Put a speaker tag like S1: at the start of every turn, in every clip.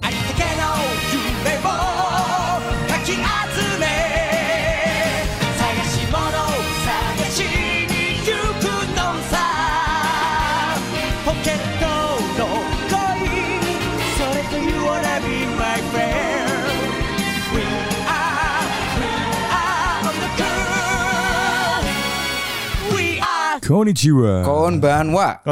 S1: ありったけの夢をかき集め探し物を探しに行くのさポケットの恋それと You wanna be my friend We are, we are on the girl We are
S2: Konnichiwa
S3: Konbanwa.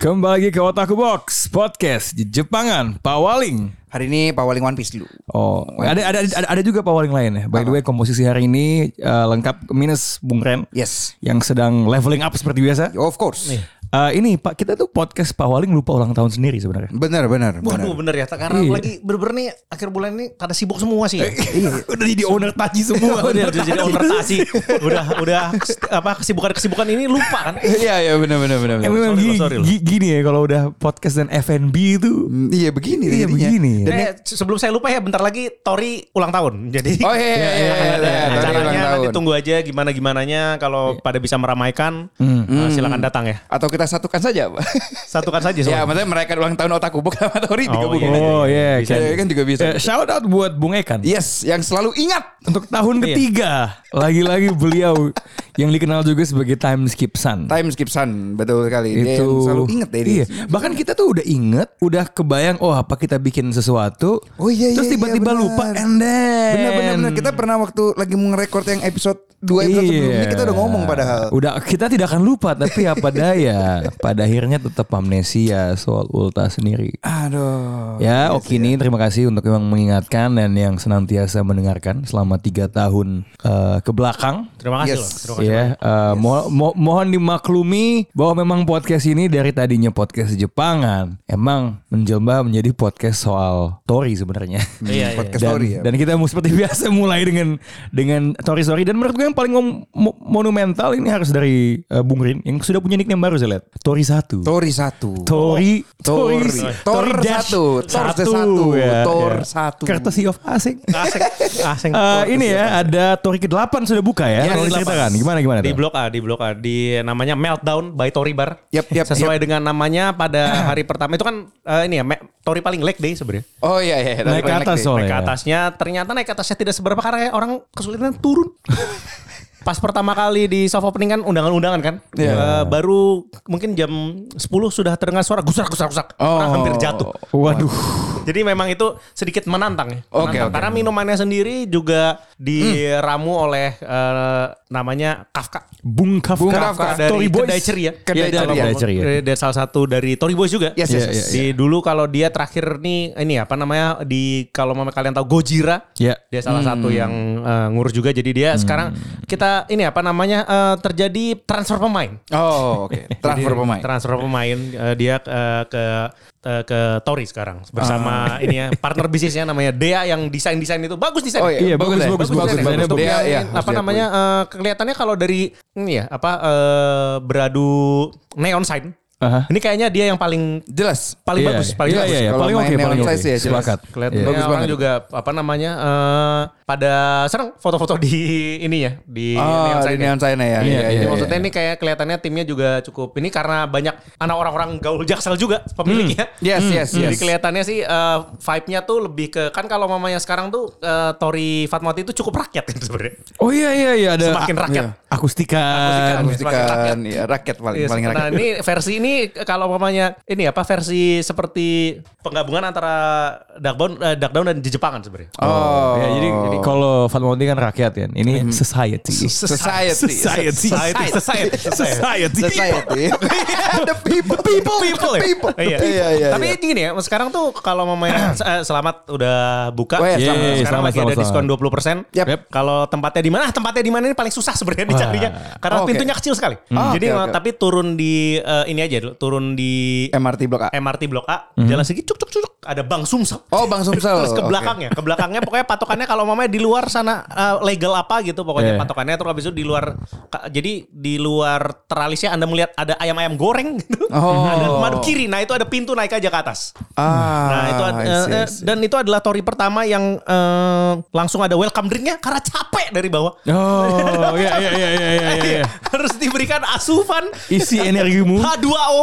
S2: Kembali lagi ke Otaku Box Podcast di Jepangan Pak Waling
S3: Hari ini Pak Waling One Piece dulu.
S2: Oh ada, ada, ada, ada juga Pak Waling lain ya By the way komposisi hari ini eh, Lengkap minus Bung Ren
S3: Yes.
S2: Yang sedang leveling up seperti biasa
S3: Of course.
S2: Eh, Ini Pak kita tuh podcast Pak Waling lupa ulang tahun sendiri sebenarnya
S3: Benar, benar,
S4: Waduh
S3: benar.
S4: bener ya karena
S2: Iya.
S4: lagi bener-bener nih akhir bulan ini pada sibuk semua sih.
S2: Udah jadi owner taji
S3: Iya,
S2: semua
S4: udah udah jadi owner tasi. Udah udah apa kesibukan-kesibukan ini lupa kan.
S3: Iya, iya, benar, benar, benar.
S2: Eh, memang
S4: Sorry
S2: gini,
S4: loh, sorry loh.
S2: gi- gini ya kalau udah podcast dan F&B itu
S3: Mm, Iya, begini
S2: Iya
S3: jadinya.
S2: begini
S3: Dan-
S4: Eh, sebelum saya lupa ya bentar lagi Tori ulang tahun. Jadi
S3: Oh iya, iya, iya, iya, iya, iya,
S4: acaranya
S3: ulang
S4: nanti
S3: tahun. Iya.
S4: tunggu aja gimana gimananya kalau pada bisa meramaikan
S3: Hmm.
S4: eh, silakan datang ya.
S3: Atau kita satukan saja, Pak.
S4: Satukan saja
S3: ya,
S4: soalnya.
S3: maksudnya merayakan ulang tahun otak kubuk sama Tori
S4: Oh,
S3: digabung.
S4: iya.
S2: Iya, Oh iya
S3: Bisa,
S2: kan.
S3: kan juga bisa.
S2: Eh, Shout out buat Bung Ekan
S3: Yes, yang selalu ingat.
S2: Untuk tahun ketiga Lagi-lagi beliau Yang dikenal juga sebagai Time Skip Sun
S3: Time skip sun, betul sekali. Dia
S2: itu
S3: yang selalu ingat ya dia.
S2: iya. bahkan kita tuh udah inget udah kebayang oh apa kita bikin sesuatu
S3: Oh, iya,
S2: terus
S3: iya,
S2: tiba-tiba
S3: iya, benar.
S2: lupa and then
S3: Benar, benar, benar. Kita pernah waktu lagi ngerekord yang episode 2 episode
S2: Iya.
S3: sebelumnya kita udah ngomong padahal.
S2: Udah kita tidak akan lupa tapi apa daya. Pada akhirnya tetap amnesia soal ulta sendiri.
S3: Aduh.
S2: ya, Okini terima kasih untuk yang mengingatkan dan yang senantiasa mendengarkan selama tiga tahun eh, ke belakang.
S4: Terima kasih
S3: Yes.
S4: loh. Terima kasih.
S2: Ya, eh, mo- mo- mohon dimaklumi bahwa memang podcast ini dari tadinya podcast Jepangan emang menjelma menjadi podcast soal Tori sebenarnya.
S4: Iya, iya.
S3: Podcast
S2: Dan,
S3: story ya.
S2: dan kita mu- seperti biasa mulai dengan dengan Tori Story dan menurut gue yang paling mom- mo- monumental ini harus dari eh, Bung Rin yang sudah punya nickname baru saya lihat Tori satu.
S3: Tori satu.
S2: Tori,
S3: Tor, Tor
S2: dash ya.
S3: satu, Tor satu, Tor satu.
S2: Courtesy of asing.
S4: Asik. Asik.
S2: Eh, ini ya ada Tori ke-8 sudah buka ya.
S3: Iya,
S4: Ya,
S2: Tolong
S4: di
S2: ceritakan
S4: lapas.
S2: gimana gimana.
S4: Di
S2: tuh?
S4: blok A, di blok A, di namanya Meltdown by Tori Bar.
S3: Yap, yap,
S4: Sesuai dengan namanya pada hari pertama itu kan eh, ini ya me- Tori paling leg day sebenarnya.
S3: Oh iya iya. dari
S2: Naik ke
S3: Connect
S2: atas
S3: deh.
S2: soalnya.
S4: Naik ke atasnya ternyata naik ke atasnya tidak seberapa karena orang kesulitan turun. Pas pertama kali di soft opening kan undangan-undangan kan.
S3: Iya.
S4: Eh, baru mungkin jam 10 sudah terdengar suara gusak gusak gusak. Orang
S3: Oh.
S4: hampir jatuh.
S2: Waduh.
S4: Jadi memang itu sedikit menantang ya.
S3: Oke,
S4: Menantang.
S3: oke. Hmm.
S4: Karena minumannya sendiri juga diramu oleh eh, namanya Kafka.
S2: Bung Kafka,
S3: Bung Kafka
S4: dari
S2: Tory Boys.
S4: Kedai ya? Ceria.
S3: Kedai ya.
S2: Iya,
S3: Ceria.
S2: Kedai Ceria.
S4: Dari, dari salah satu dari Tory Boys juga.
S3: Yes, yes,
S2: Iya, yes.
S4: Di dulu kalau dia terakhir nih ini apa namanya di kalau mama kalian tahu Gojira.
S2: Iya.
S4: Dia salah
S3: Hmm.
S4: satu yang eh, ngurus juga jadi dia sekarang kita ini apa namanya eh, terjadi transfer pemain.
S3: Oh oke. Transfer
S4: Jadi,
S3: pemain.
S4: Transfer pemain eh, dia eh, ke eh, ke Tori sekarang bersama ini ya partner bisnisnya namanya Dea yang desain-desain itu bagus desain.
S3: Oh, iya.
S2: Iya, bagus
S3: Bagus, ya.
S2: bagus
S3: Bagus,
S2: bagus.
S3: bagus.
S2: Desainnya
S4: Untuk
S2: bagus.
S3: Dea,
S4: yang
S3: iya, harus
S4: apa namanya eh, kelihatannya kalau dari ini ya apa eh, beradu neon sign.
S2: Aha.
S4: Ini kayaknya dia yang paling
S3: Jelas.
S4: paling
S2: Iya,
S4: bagus,
S2: iya,
S4: paling
S2: iya,
S4: bagus.
S2: iya,
S3: Kalau
S2: paling
S3: main
S2: oke, paling
S3: neon
S2: oke.
S3: size ya, jelas.
S2: Sepakat.
S4: Kelihatannya
S3: Bagus
S4: orang
S3: banget.
S4: juga apa namanya eh, pada sering foto-foto di ini ya di
S3: Oh
S4: neon
S3: di
S4: sign. ya.
S3: neon sign ya.
S2: Iya,
S3: Iya
S4: Jadi
S3: iya.
S2: iya.
S4: maksudnya ini kayak kelihatannya timnya juga cukup ini karena banyak anak orang-orang gaul jaksel juga pemiliknya.
S3: Yes Hmm. yes
S4: Jadi
S3: yes.
S4: kelihatannya sih eh, vibe-nya tuh lebih ke kan kalau mamanya sekarang tuh eh, Tori Fatmawati itu cukup rakyat kan sebenarnya.
S2: Oh iya iya iya ada
S4: Semakin rakyat.
S2: akustikan.
S3: Akustikan ya, rakyat paling gitu.
S4: Iya,
S3: paling
S4: nah
S3: rakyat.
S4: ini versi ini kalau mamanya ini apa versi seperti penggabungan antara Darkbound, eh, Darkdown dan Jejepangan sebenarnya.
S3: Oh.
S4: Iya,
S3: Mm-hmm.
S2: Ya, jadi jadi kalau Fatmawati kan rakyat kan. Ini society.
S3: Society. iya,
S2: Society.
S4: Society, society,
S2: Society.
S3: Society. The people.
S4: Iya, people, people, ya?
S3: people, the
S4: Iya.
S3: people. Iya, iya,
S4: Tapi
S3: iya.
S4: gini ya, sekarang tuh kalau mau main eh, selamat udah buka.
S3: Oh, iya,
S4: Sekarang
S2: selamat, selamat,
S4: lagi ada
S2: selamat,
S4: diskon
S2: selamat.
S4: 20%.
S3: Yap.
S2: Yap.
S4: Kalau tempatnya di mana? Ah, Tempatnya di mana ini paling susah sebenarnya dicarinya karena
S3: Oke.
S4: pintunya kecil sekali. Hmm.
S3: Ah,
S4: Jadi
S3: oke, oke.
S4: tapi turun di eh, ini aja dulu, turun di
S3: MRT Blok A. Hmm.
S4: MRT Blok A, jalan sedikit cuk cuk cuk. cuk. ada Bang Sumsel.
S3: Oh, Bang Sumsel.
S4: terus ke
S3: Oke.
S4: belakangnya, ke belakangnya pokoknya patokannya kalau mamanya di luar sana eh, legal apa gitu pokoknya
S2: Iya.
S4: patokannya terus habis itu di luar ka- jadi di luar teralisnya Anda melihat ada ayam-ayam goreng gitu.
S3: Oh.
S4: Ada madep kiri. Nah, itu ada pintu naik aja ke atas.
S3: Ah,
S4: Nah, itu ad-
S3: I
S4: eh,
S3: see, I
S4: eh,
S3: see.
S4: dan itu adalah tori pertama yang eh, langsung ada welcome drinknya karena capek dari bawah.
S2: Oh, iya iya iya iya iya. iya.
S4: Harus diberikan asupan
S2: Isi energimu.
S4: H2O.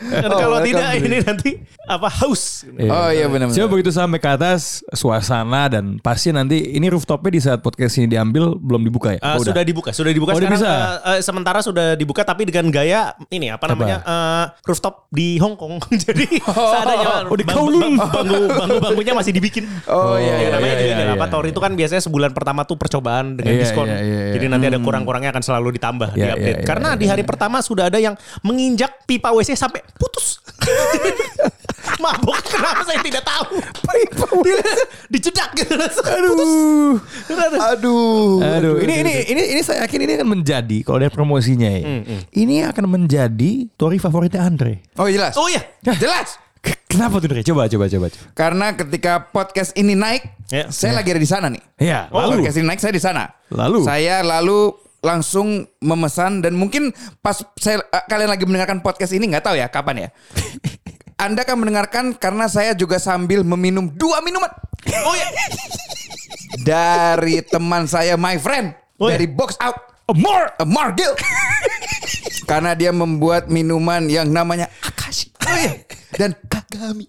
S4: Dan
S3: Oh,
S4: kalau
S3: welcome
S4: tidak
S3: drink.
S4: ini nanti apa haus.
S3: Oh, iya, benar-benar.
S2: Coba begitu sampai ke atas suasana dan pasti nanti ini rooftopnya di saat podcast ini diambil belum dibuka ya?
S4: Eh,
S3: Ah,
S2: Oh, udah.
S4: sudah dibuka, sudah dibuka
S2: Oh, udah
S4: sekarang.
S2: bisa?
S4: eh, eh, sementara sudah dibuka tapi dengan gaya ini apa namanya eh, rooftop di Hong Kong. Jadi seadanya
S2: Oh, di
S4: bang-
S2: Kowloon.
S4: bang- bangku bangku bangkunya masih dibikin.
S3: Oh, iya,
S4: Ya,
S3: iya,
S4: namanya
S2: iya,
S4: juga
S2: iya,
S4: kan, apa
S2: iya,
S4: Tori itu kan biasanya sebulan pertama tuh percobaan dengan
S2: Iya,
S4: diskon.
S2: iya, iya, iya.
S4: Jadi nanti ada kurang-kurangnya akan selalu ditambah
S2: Iya,
S4: diupdate.
S2: iya, iya,
S4: Karena
S2: iya,
S4: di hari pertama sudah ada yang menginjak pipa WC sampai putus. Mabok kenapa saya tidak tahu. Pipa dicedak gitu langsung putus.
S3: Aduh.
S2: Aduh, ini ini ini ini saya yakin ini akan menjadi kalau dari promosinya ya. Ini akan menjadi tori favoritnya Andre.
S3: Oh jelas.
S4: Oh iya,
S3: Jelas.
S2: K- Kenapa tuh Andre? Coba coba coba. coba.
S3: Karena ketika podcast ini naik,
S4: Ya.
S3: saya lagi ada di sana nih.
S2: Ya,
S4: Oh,
S2: lalu
S3: Podcast ini naik saya di sana.
S2: Lalu?
S3: Saya lalu langsung memesan dan mungkin pas saya eh, kalian lagi mendengarkan podcast ini nggak tahu ya kapan ya. Anda akan mendengarkan karena saya juga sambil meminum dua minuman. Oh ya. dari teman saya my friend
S4: Oh, ya.
S3: dari box out.
S2: A more.
S3: A Margil. Karena dia membuat minuman yang namanya Akashi. Oh iya. Dan Kagami.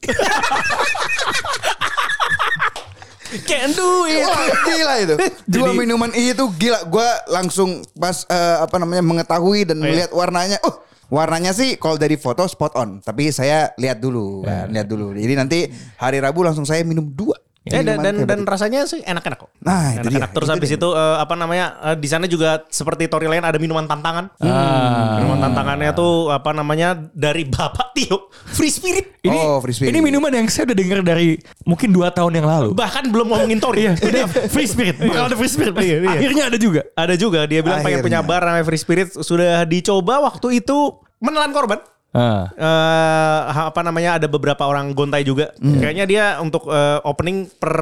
S4: can do it.
S3: Wah, gila itu. Dua
S2: Jadi-
S3: minuman itu gila. Gua langsung pas eh, apa namanya mengetahui dan
S4: iya.
S3: melihat warnanya. Uh, warnanya sih kalau dari foto spot on, tapi saya lihat dulu,
S4: Iya.
S3: kan, lihat dulu. Jadi nanti hari Rabu langsung saya minum dua.
S4: Ya,
S3: minuman
S4: dan, dan,
S3: kayak
S4: dan
S3: begitu.
S4: rasanya sih enak-enak kok.
S3: Nah, itu
S4: enak-enak.
S3: dia,
S4: Terus
S3: itu
S4: habis
S3: dia.
S4: itu eh, apa namanya? eh, di sana juga seperti Tori lain ada minuman tantangan. Hmm.
S2: Ah.
S4: Minuman tantangannya tuh apa namanya? Dari Bapak Tio, Free Spirit.
S2: Ini,
S3: Oh, free
S2: ini
S3: spirit.
S2: minuman yang saya udah dengar dari mungkin dua tahun yang lalu.
S4: Bahkan belum ngomongin Tori.
S2: Iya, udah free spirit. Bakal ada free spirit.
S4: Iya, iya.
S2: Akhirnya ada juga.
S4: Ada juga dia bilang pengen punya
S3: Akhirnya.
S4: bar namanya Free Spirit sudah dicoba waktu itu menelan korban.
S2: Ah.
S4: eh apa namanya ada beberapa orang gontai juga.
S2: Hmm.
S4: Kayaknya dia untuk eh, opening per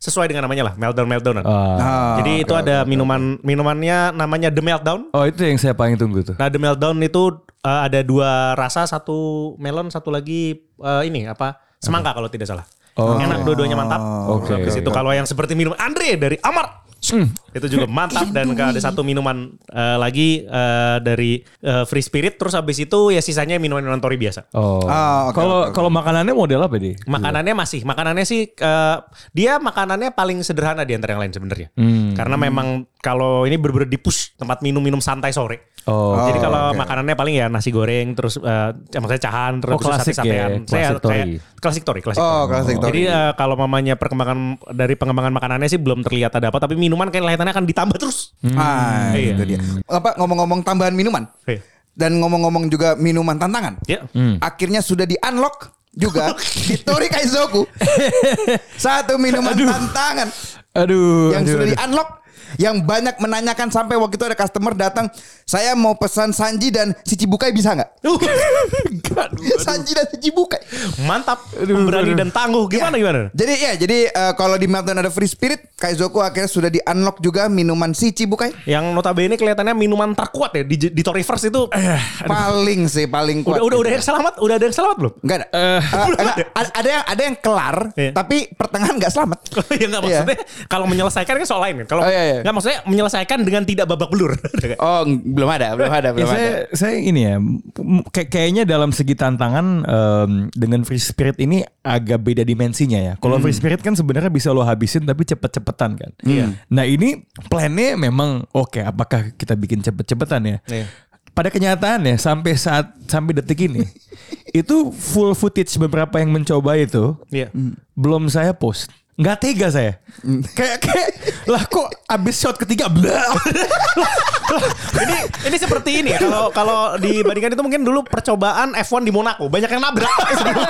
S4: sesuai dengan namanya lah, meltdown meltdown.
S2: Ah.
S3: Ah,
S4: Jadi itu
S3: oke,
S4: ada
S3: oke.
S4: minuman minumannya namanya The Meltdown.
S2: Oh itu yang saya paling tunggu tuh.
S4: Nah, The Meltdown itu eh, ada dua rasa, satu melon, satu lagi eh, ini apa? Semangka kalau tidak salah.
S2: Oh.
S4: Enak dua-duanya mantap.
S2: Oke,
S4: Oke. Habis
S2: oke.
S4: itu kalau yang seperti minum Andre dari Amar itu juga mantap dan ada satu minuman eh, lagi eh, dari eh, Free Spirit terus habis itu ya sisanya minuman-minuman Tori biasa.
S2: Oh.
S3: Ah, oke,
S2: Kalau
S3: oke, oke.
S2: kalau makanannya model apa deh?
S4: Makanannya masih, makanannya sih eh, dia makanannya paling sederhana di antara yang lain sebenarnya.
S2: Hmm.
S4: Karena memang kalau ini bener-bener dipush tempat minum-minum santai sore.
S2: Oh.
S4: Jadi
S3: Oh,
S4: kalau
S3: oke.
S4: makanannya paling ya nasi goreng terus eh, maksudnya cahan
S2: Oh,
S4: terus
S2: klasik ya,
S4: sate-satean. Saya-
S2: klasik tori.
S4: saya- klasik tori, klasik
S3: Oh,
S4: tori.
S3: klasik tori.
S4: Jadi eh, kalau mamanya perkembangan dari pengembangan makanannya sih belum terlihat ada apa tapi minuman kayak kelihatannya akan ditambah terus.
S3: Ah,
S4: Iya.
S3: itu dia. Apa ngomong-ngomong tambahan minuman?
S4: Iya.
S3: Dan ngomong-ngomong juga minuman tantangan.
S4: Ya.
S2: Hmm.
S3: Akhirnya sudah di unlock juga di Tori Kaizoku. Satu minuman tantangan
S2: Aduh.
S3: yang
S2: aduh,
S3: sudah di
S2: aduh.
S3: unlock yang banyak menanyakan sampai waktu itu ada customer datang, "Saya mau pesan Sanji dan si Cibukai bisa nggak?" Sanji dan si Cibukai.
S4: Mantap, berani dan tangguh. Gimana gimana?
S3: Jadi ya, jadi eh, kalau di Meltdown ada Free Spirit, Kaizoku akhirnya sudah di unlock juga minuman si Cibukai.
S4: Yang notabene kelihatannya minuman terkuat ya di, di Tori First itu.
S2: Eh,
S3: Paling sih paling kuat.
S4: udah udah udah
S3: gitu.
S4: yang selamat, udah ada yang selamat belum?
S3: Enggak ada.
S2: Eh.
S3: Eh, enggak. A- ada yang ada yang kelar,
S4: Iya.
S3: tapi pertengahan enggak selamat.
S4: ya nggak maksudnya kalau menyelesaikan kan soal lain kan. Kalau
S3: Oh, iya, iya.
S4: nggak maksudnya menyelesaikan dengan tidak babak belur.
S3: Oh, n- belum ada, belum ada,
S2: Ya,
S3: belum
S2: saya,
S3: ada.
S2: saya ini ya, m- kayak- kayaknya dalam segi tantangan em, dengan free spirit ini agak beda dimensinya ya. Kalau free spirit kan sebenarnya bisa lo habisin tapi cepet-cepetan kan.
S4: Iya.
S2: Nah ini plannya memang oke. apakah kita bikin cepet-cepetan ya?
S4: Iya.
S2: Pada kenyataannya sampai saat sampai detik ini itu full footage beberapa yang mencoba itu
S4: Iya.
S2: belum saya post. Nggak tega saya.
S3: Hmm.
S2: Kayak kayak lah kok abis shot ketiga blah.
S4: ini ini seperti ini ya. Kalau kalau dibandingkan itu mungkin dulu percobaan F1 di Monaco banyak yang nabrak sebelum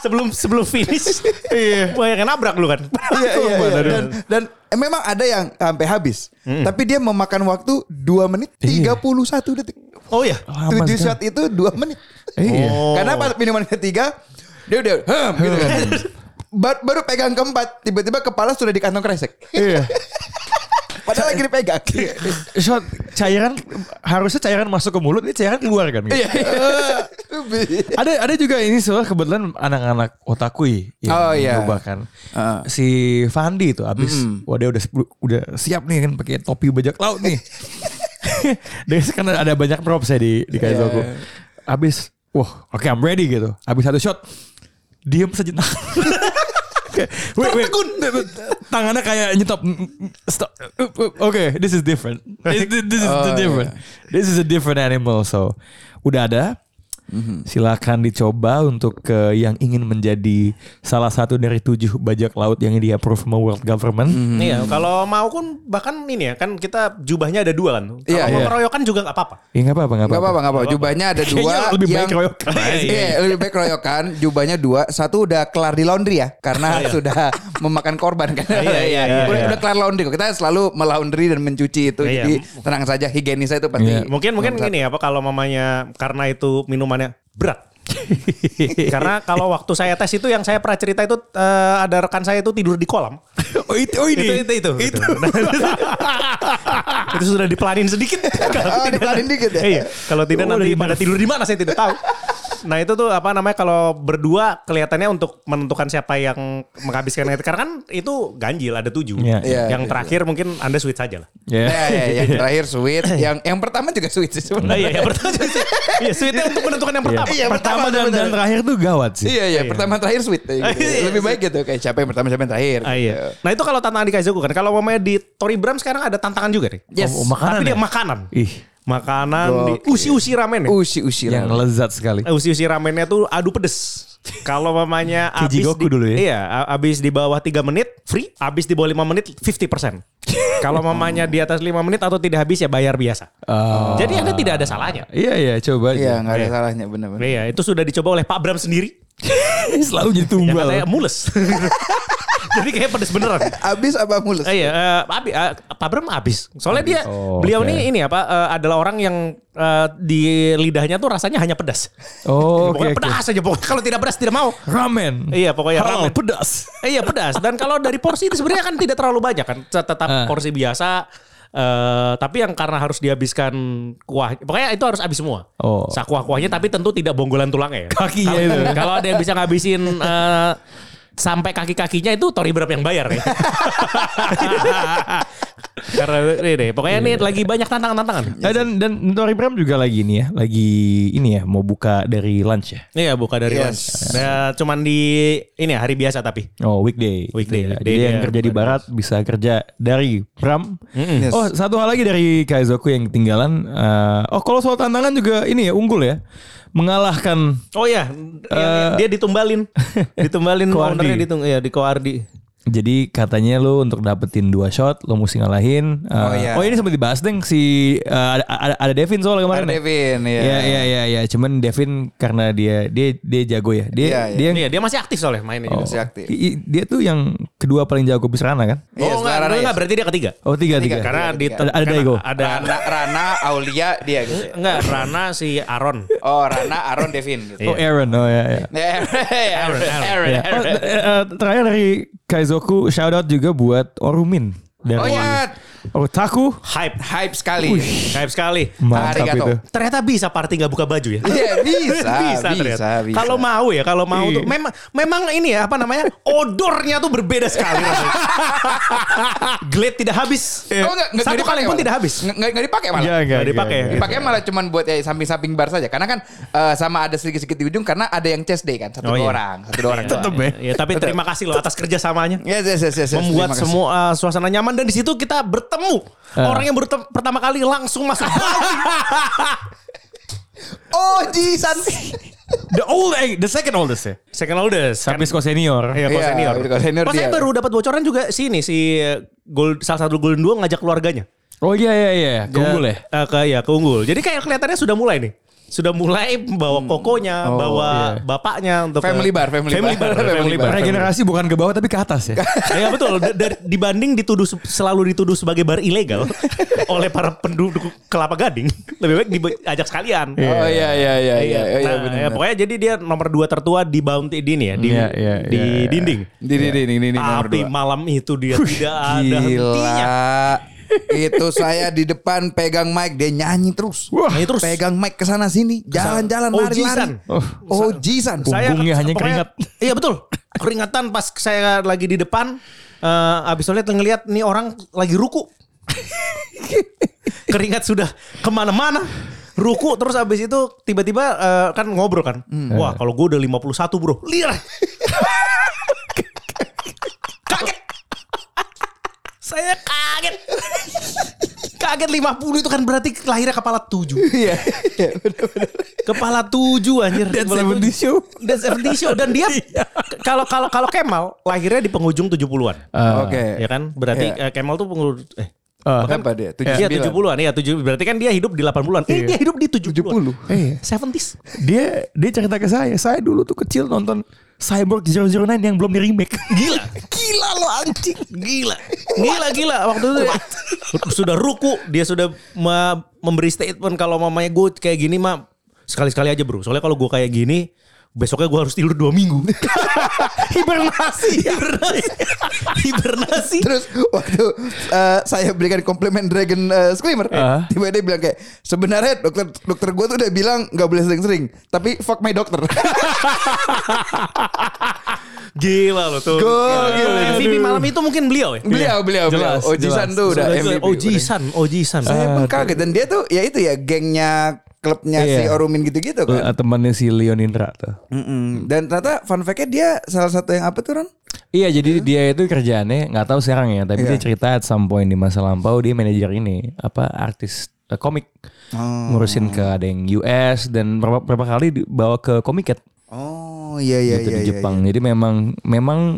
S4: sebelum, sebelum finish. Iya. Banyak yang nabrak dulu kan.
S3: Iya, iya, iya. Dan, dan eh, memang ada yang sampai habis.
S2: Hmm.
S3: Tapi dia memakan waktu 2 menit 31 detik.
S4: Oh
S2: Iya.
S4: ya.
S2: Lama sekali.
S3: 7 shot itu 2 menit.
S2: Iya.
S4: Oh.
S3: Karena pas minuman ketiga dia udah "Hem," gitu kan. Ba- baru pegang keempat, tiba-tiba kepala sudah di kantong kresek.
S2: Iya.
S3: Padahal lagi dipegang.
S2: Shot cairan harusnya cairan masuk ke mulut, ini cairan keluar kan? Gitu. ada ada juga ini soal kebetulan anak-anak otakui yang
S3: Oh, iya.
S2: berubah kan.
S3: Heeh.
S2: Si Fandi itu abis wah dia udah sepuluh- udah siap nih kan pakai topi bajak laut nih. Dia kan ada banyak props ya di di
S3: Iya.
S2: Kaizoku. Abis wah oke I'm ready gitu. Abis satu shot diem sejenak. Kayak, wait, wait. Tangannya kayak nyetop. Stop. Oke, this is different. This, this is
S3: Oh,
S2: different. This is a different animal. So, udah ada Mm-hmm. silakan dicoba untuk ke yang ingin menjadi salah satu dari tujuh bajak laut yang di approve sama world government.
S4: Iya, kalau mau pun bahkan ini ya kan kita jubahnya ada dua kan. Kalau
S3: Iya,
S4: mau
S2: iya.
S4: keroyokan juga nggak apa-apa.
S2: Ya nggak apa-apa, nggak
S3: Gak
S2: apa-apa.
S3: apa-apa, gak apa-apa. Jubahnya ada
S2: Kayaknya
S3: dua
S2: lebih
S3: yang
S2: baik keroyokan.
S3: Iya, lebih baik keroyokan. Jubahnya dua. Satu udah kelar di laundry ya, karena sudah memakan korban kan.
S4: Iya, iya, iya,
S3: udah,
S4: iya.
S3: udah kelar laundry kok. Kita selalu melaundry dan mencuci itu.
S4: Iya.
S3: Jadi tenang saja, higienisnya itu pasti.
S2: Iya.
S4: Mungkin mungkin ini apa kalau mamanya karena itu minumannya berat. Karena kalau waktu saya tes itu yang saya pernah cerita itu eh, ada rekan saya itu tidur di kolam.
S2: Oh, itu, oh ini.
S4: Itu itu itu. gitu. Itu, Itu sudah dipelanin sedikit. Kalau
S3: Oh,
S4: tidak-
S3: dipelanin dikit ya?
S4: Iya. Kalau tidak nanti pada tidur di mana saya tidak tahu. Nah itu tuh apa namanya kalau berdua kelihatannya untuk menentukan siapa yang menghabiskan itu karena kan itu ganjil ada tujuh.
S2: Iya.
S3: Iya,
S4: yang
S3: iya.
S4: terakhir mungkin anda sweet saja lah.
S2: Ya.
S3: Nah, ya, yang terakhir sweet, yang yang pertama juga sweet sih
S4: Nah,
S3: sebenarnya.
S4: iya, yang pertama juga sih. Iya, sweetnya untuk menentukan yang pertama.
S3: Iya,
S2: Pertama Oh, dan, dan
S3: benar.
S2: terakhir tuh gawat sih. Oh,
S3: Iya, iya, pertama terakhir sweet. Gitu.
S4: Iya,
S3: Lebih baik gitu kayak siapa yang pertama siapa yang terakhir.
S4: Ah, iya. Nah itu kalau tantangan di Kaizoku kan. Kalau mamanya di Tori Bram sekarang ada tantangan juga nih.
S3: Yes.
S2: Oh, oh, makanan
S4: Tapi dia
S2: ya?
S4: makanan.
S2: Ih,
S4: Makanan di
S3: Oke.
S4: usi-usi ramen ya.
S3: Usi-usi
S2: yang
S3: lah.
S2: lezat sekali.
S4: Eh, Usi-usi ramennya tuh adu pedes. Kalau mamanya abis
S2: Goku
S4: di,
S2: dulu ya?
S4: Iya, a- abis di bawah 3 menit free, abis di bawah 5 menit 50%. Kalau mamanya di atas 5 menit atau tidak habis ya bayar biasa.
S2: Ah.
S4: Jadi Anda tidak ada salahnya.
S2: Iya iya coba
S3: Iya,
S2: aja.
S3: enggak ada salahnya benar-benar.
S4: Iya, itu sudah dicoba oleh Pak Bram sendiri.
S2: Selalu jadi
S4: Yang
S2: tumbal.
S4: katanya mules. Jadi kayak pedes beneran.
S3: Abis apa mulus?
S4: Eh, Iya, eh, abi, eh, Pak Bram abis. Soalnya dia,
S2: Oh,
S4: beliau
S2: oke.
S4: ini ini apa eh, adalah orang yang eh, di lidahnya tuh rasanya hanya pedas.
S2: Oh, oke
S4: pokoknya
S2: oke.
S4: pedas aja pokoknya. Kalau tidak pedas tidak mau.
S2: Ramen.
S4: Iya, pokoknya
S2: Halal,
S4: ramen.
S2: pedas.
S4: Eh, iya pedas. Dan kalau dari porsi itu sebenarnya kan tidak terlalu banyak kan, Tet- tetap
S2: Eh.
S4: porsi biasa. eh tapi yang karena harus dihabiskan kuah, pokoknya itu harus habis semua.
S2: Oh.
S4: Sakuah kuahnya, tapi tentu tidak bonggolan tulangnya. ya.
S2: Kakinya
S4: Kalau-
S2: itu.
S4: Kalau ada yang bisa ngabisin eh, sampai kaki kakinya itu Tori berapa yang bayar ya. Karena ini deh, pokoknya ini lagi banyak tantangan tantangan.
S2: Nah, dan dan Tori Bram juga lagi ini ya, lagi ini ya mau buka dari lunch ya.
S4: Iya buka dari
S3: Yes.
S4: lunch. Nah, cuman di ini ya, hari biasa tapi.
S2: Oh weekday.
S4: Weekday,
S2: Gitu ya.
S4: weekday
S2: Jadi yang
S4: dia
S2: kerja di barat bisa kerja dari Bram.
S3: Yes.
S2: Oh satu hal lagi dari Kaizoku yang ketinggalan. eh, oh kalau soal tantangan juga ini ya unggul ya, mengalahkan
S4: Oh iya, yang- dia ditumbalin, ditumbalin
S2: Koardi.
S4: ownernya ditung, ya di Koardi.
S2: Jadi katanya lu untuk dapetin dua shot lu mesti ngalahin. Uh,
S3: Oh, iya.
S2: ini sempat dibahas deng si uh, ada, ada, ada Devin soal kemarin.
S3: Ada
S2: ya?
S3: Devin, iya.
S2: Iya iya iya iya. Cuman Devin karena dia dia dia jago ya. Dia
S3: Iya, iya.
S2: dia
S4: Iya, dia masih aktif soalnya mainnya
S2: oh,
S4: juga.
S3: masih aktif.
S2: i- i- dia tuh yang kedua paling jago Bisrana kan?
S3: Iya,
S4: Oh enggak,
S3: sekarang
S4: enggak,
S3: ya.
S4: enggak, berarti dia ketiga.
S2: Oh tiga tiga.
S3: Tiga,
S4: Karena di
S2: Ada- ada
S4: karena
S2: Daigo.
S4: Ada
S3: Rana, Rana, Aulia dia gitu. ya.
S4: enggak Rana si Aaron.
S3: Oh, Rana, Aaron, Devin
S4: Iya.
S2: Oh
S3: gitu.
S2: Aaron oh ya ya.
S3: Aaron, Aaron, Aaron.
S2: Ya. Oh, t- eh, eh, terakhir dari Kaizoku shout out juga buat Orumin dari
S3: Oh iya,
S2: Otaku.
S4: Hype.
S3: hype sekali.
S4: Hype sekali.
S2: Mantap
S3: Arigato.
S2: itu.
S4: Ternyata bisa party nggak buka baju ya.
S3: Iya, bisa, bisa,
S4: ternyata.
S3: bisa,
S4: Kalau mau ya, kalau mau tuh memang memang ini ya apa namanya? Odornya tuh berbeda sekali rasanya. Glade tidak habis.
S3: Oh, enggak, enggak,
S4: Satu
S3: enggak
S4: kali
S3: dipakai
S4: pun
S3: malah.
S4: tidak habis.
S3: Enggak, enggak, enggak dipakai malah.
S2: Iya, enggak,
S4: Nggak dipakai
S2: enggak,
S4: ya?
S2: enggak.
S3: Dipakai malah cuman buat ya, samping-samping bar saja. Karena kan eh, sama ada sedikit-sedikit di ujung karena ada yang chest day kan. Satu
S4: Oh,
S3: dua
S4: iya.
S3: orang, satu dua orang.
S2: Tetep ya.
S4: Ya, tapi terima kasih loh atas kerjasamanya.
S3: Yes, yes, yes, yes, yes.
S4: membuat
S3: Terima kasih. Eh.
S4: semua uh, suasana nyaman dan di situ kita bertemu orang yang baru tem- pertama kali langsung masuk Bali.
S3: Oh, Jisan.
S2: The old eh, the second oldest ya.
S4: second oldest kan?
S2: Tapi Sko senior.
S4: Iya, kalau
S3: Iya,
S4: senior.
S3: kalau senior
S4: Pas saya
S3: dia.
S4: baru dapat bocoran juga sini si eh, Gold, salah satu Golden Duo ngajak keluarganya.
S2: Oh iya iya iya. Keunggul ya.
S4: Eh, ke ya keunggul. Jadi kayak kelihatannya sudah mulai nih. sudah mulai bawa kokonya, bawa bapaknya untuk ke-
S3: Hmm. Oh, iya. Family bar, family bar.
S4: bar, family
S3: Family
S4: bar.
S3: bar.
S2: Regenerasi bukan ke bawah tapi ke atas ya.
S4: Ya betul. D- dari- dibanding dituduh se- selalu dituduh sebagai bar ilegal oleh para penduduk Kelapa Gading, lebih baik diajak sekalian.
S3: Oh iya iya iya iya iya, iya
S4: Nah,
S3: benar.
S4: ya, pokoknya jadi dia nomor dua tertua di Bounty di ini ya di,
S2: Iya, iya,
S4: di
S2: iya, iya.
S4: dinding.
S3: Di di di di di- di nomor
S4: Tapi
S3: dua.
S4: malam itu dia tidak ada hentinya.
S3: Gila. itu saya di depan pegang mic dia nyanyi terus.
S2: Wah.
S4: Nyanyi terus.
S3: Pegang mic ke sana sini, jalan-jalan
S4: Ojisan.
S3: lari-lari.
S2: Oh.
S3: Oh, jisan.
S2: Punggungnya hanya
S4: pokoknya-
S2: keringat.
S4: Iya betul. Keringatan pas saya lagi di depan eh abis toilet ngelihat nih orang lagi ruku. Keringat sudah kemana-mana. Ruku terus abis itu tiba-tiba eh, kan ngobrol kan.
S2: Hmm.
S4: Wah kalau gue udah 51 bro. Liar. kaget. Saya kaget. Kaget 50 itu kan berarti lahirnya kepala 7.
S3: Iya. iya, benar-benar.
S4: Kepala tujuh anjir.
S2: That's
S4: Kepala
S2: 70s
S4: tujuh.
S2: show.
S4: That's 70s show. Dan dia kalau kalau kalau Kemal lahirnya di penghujung 70-an.
S2: Ah.
S3: Oke.
S4: Ya kan? Berarti
S3: Iya.
S4: eh, Kemal tuh penghujung eh
S2: Eh,
S3: Berapa dia?
S4: Iya
S3: 79.
S4: 70-an ya 70 berarti kan dia hidup di 80-an. Eh dia hidup di 70-an.
S3: 70.
S4: 70.
S2: Iya.
S4: 70s.
S2: dia dia cerita ke saya, saya dulu tuh kecil nonton Cyborg 009 yang belum di remake.
S4: Gila. gila lo anjing. Gila. Gila gila waktu itu dia- sudah ruku, dia sudah me- memberi statement kalau mamanya gue kayak gini mah sekali-sekali aja bro. Soalnya kalau gue kayak gini Besoknya gue harus tidur dua minggu. Hibernasi. Hibernasi. Hibernasi.
S3: Terus waktu eh, saya berikan komplimen Dragon eh, Screamer,
S2: Ah.
S3: tiba dia bilang kayak sebenarnya dokter dokter gue tuh udah bilang nggak boleh sering-sering, tapi fuck my dokter.
S2: Iya.
S4: Gila lo tuh.
S3: Gokil.
S4: MVP malam itu mungkin beliau ya. Oh,
S3: beliau beliau
S2: Jelas,
S3: beliau. Ojisan
S2: jelas.
S3: tuh udah Eh. MVP.
S4: Ojisan, Ojisan.
S3: Saya pun kaget dan dia tuh ya itu ya gengnya klubnya si
S2: Iya.
S3: Orumin gitu-gitu kan.
S4: Eh,
S2: Temannya si Leon Indra tuh.
S3: Mm-mm. Dan ternyata fun fact-nya dia salah satu yang apa tuh Ron?
S2: Iya jadi dia itu kerjaannya nggak tahu sekarang ya tapi
S3: Iya.
S2: dia cerita at some point di masa lampau dia manajer ini apa artis eh, komik
S3: Oh.
S2: ngurusin ke ada yang US dan berapa, berapa kali dibawa ke komiket
S3: Oh iya iya
S2: gitu
S3: iya.
S2: di
S3: iya,
S2: Jepang jadi memang memang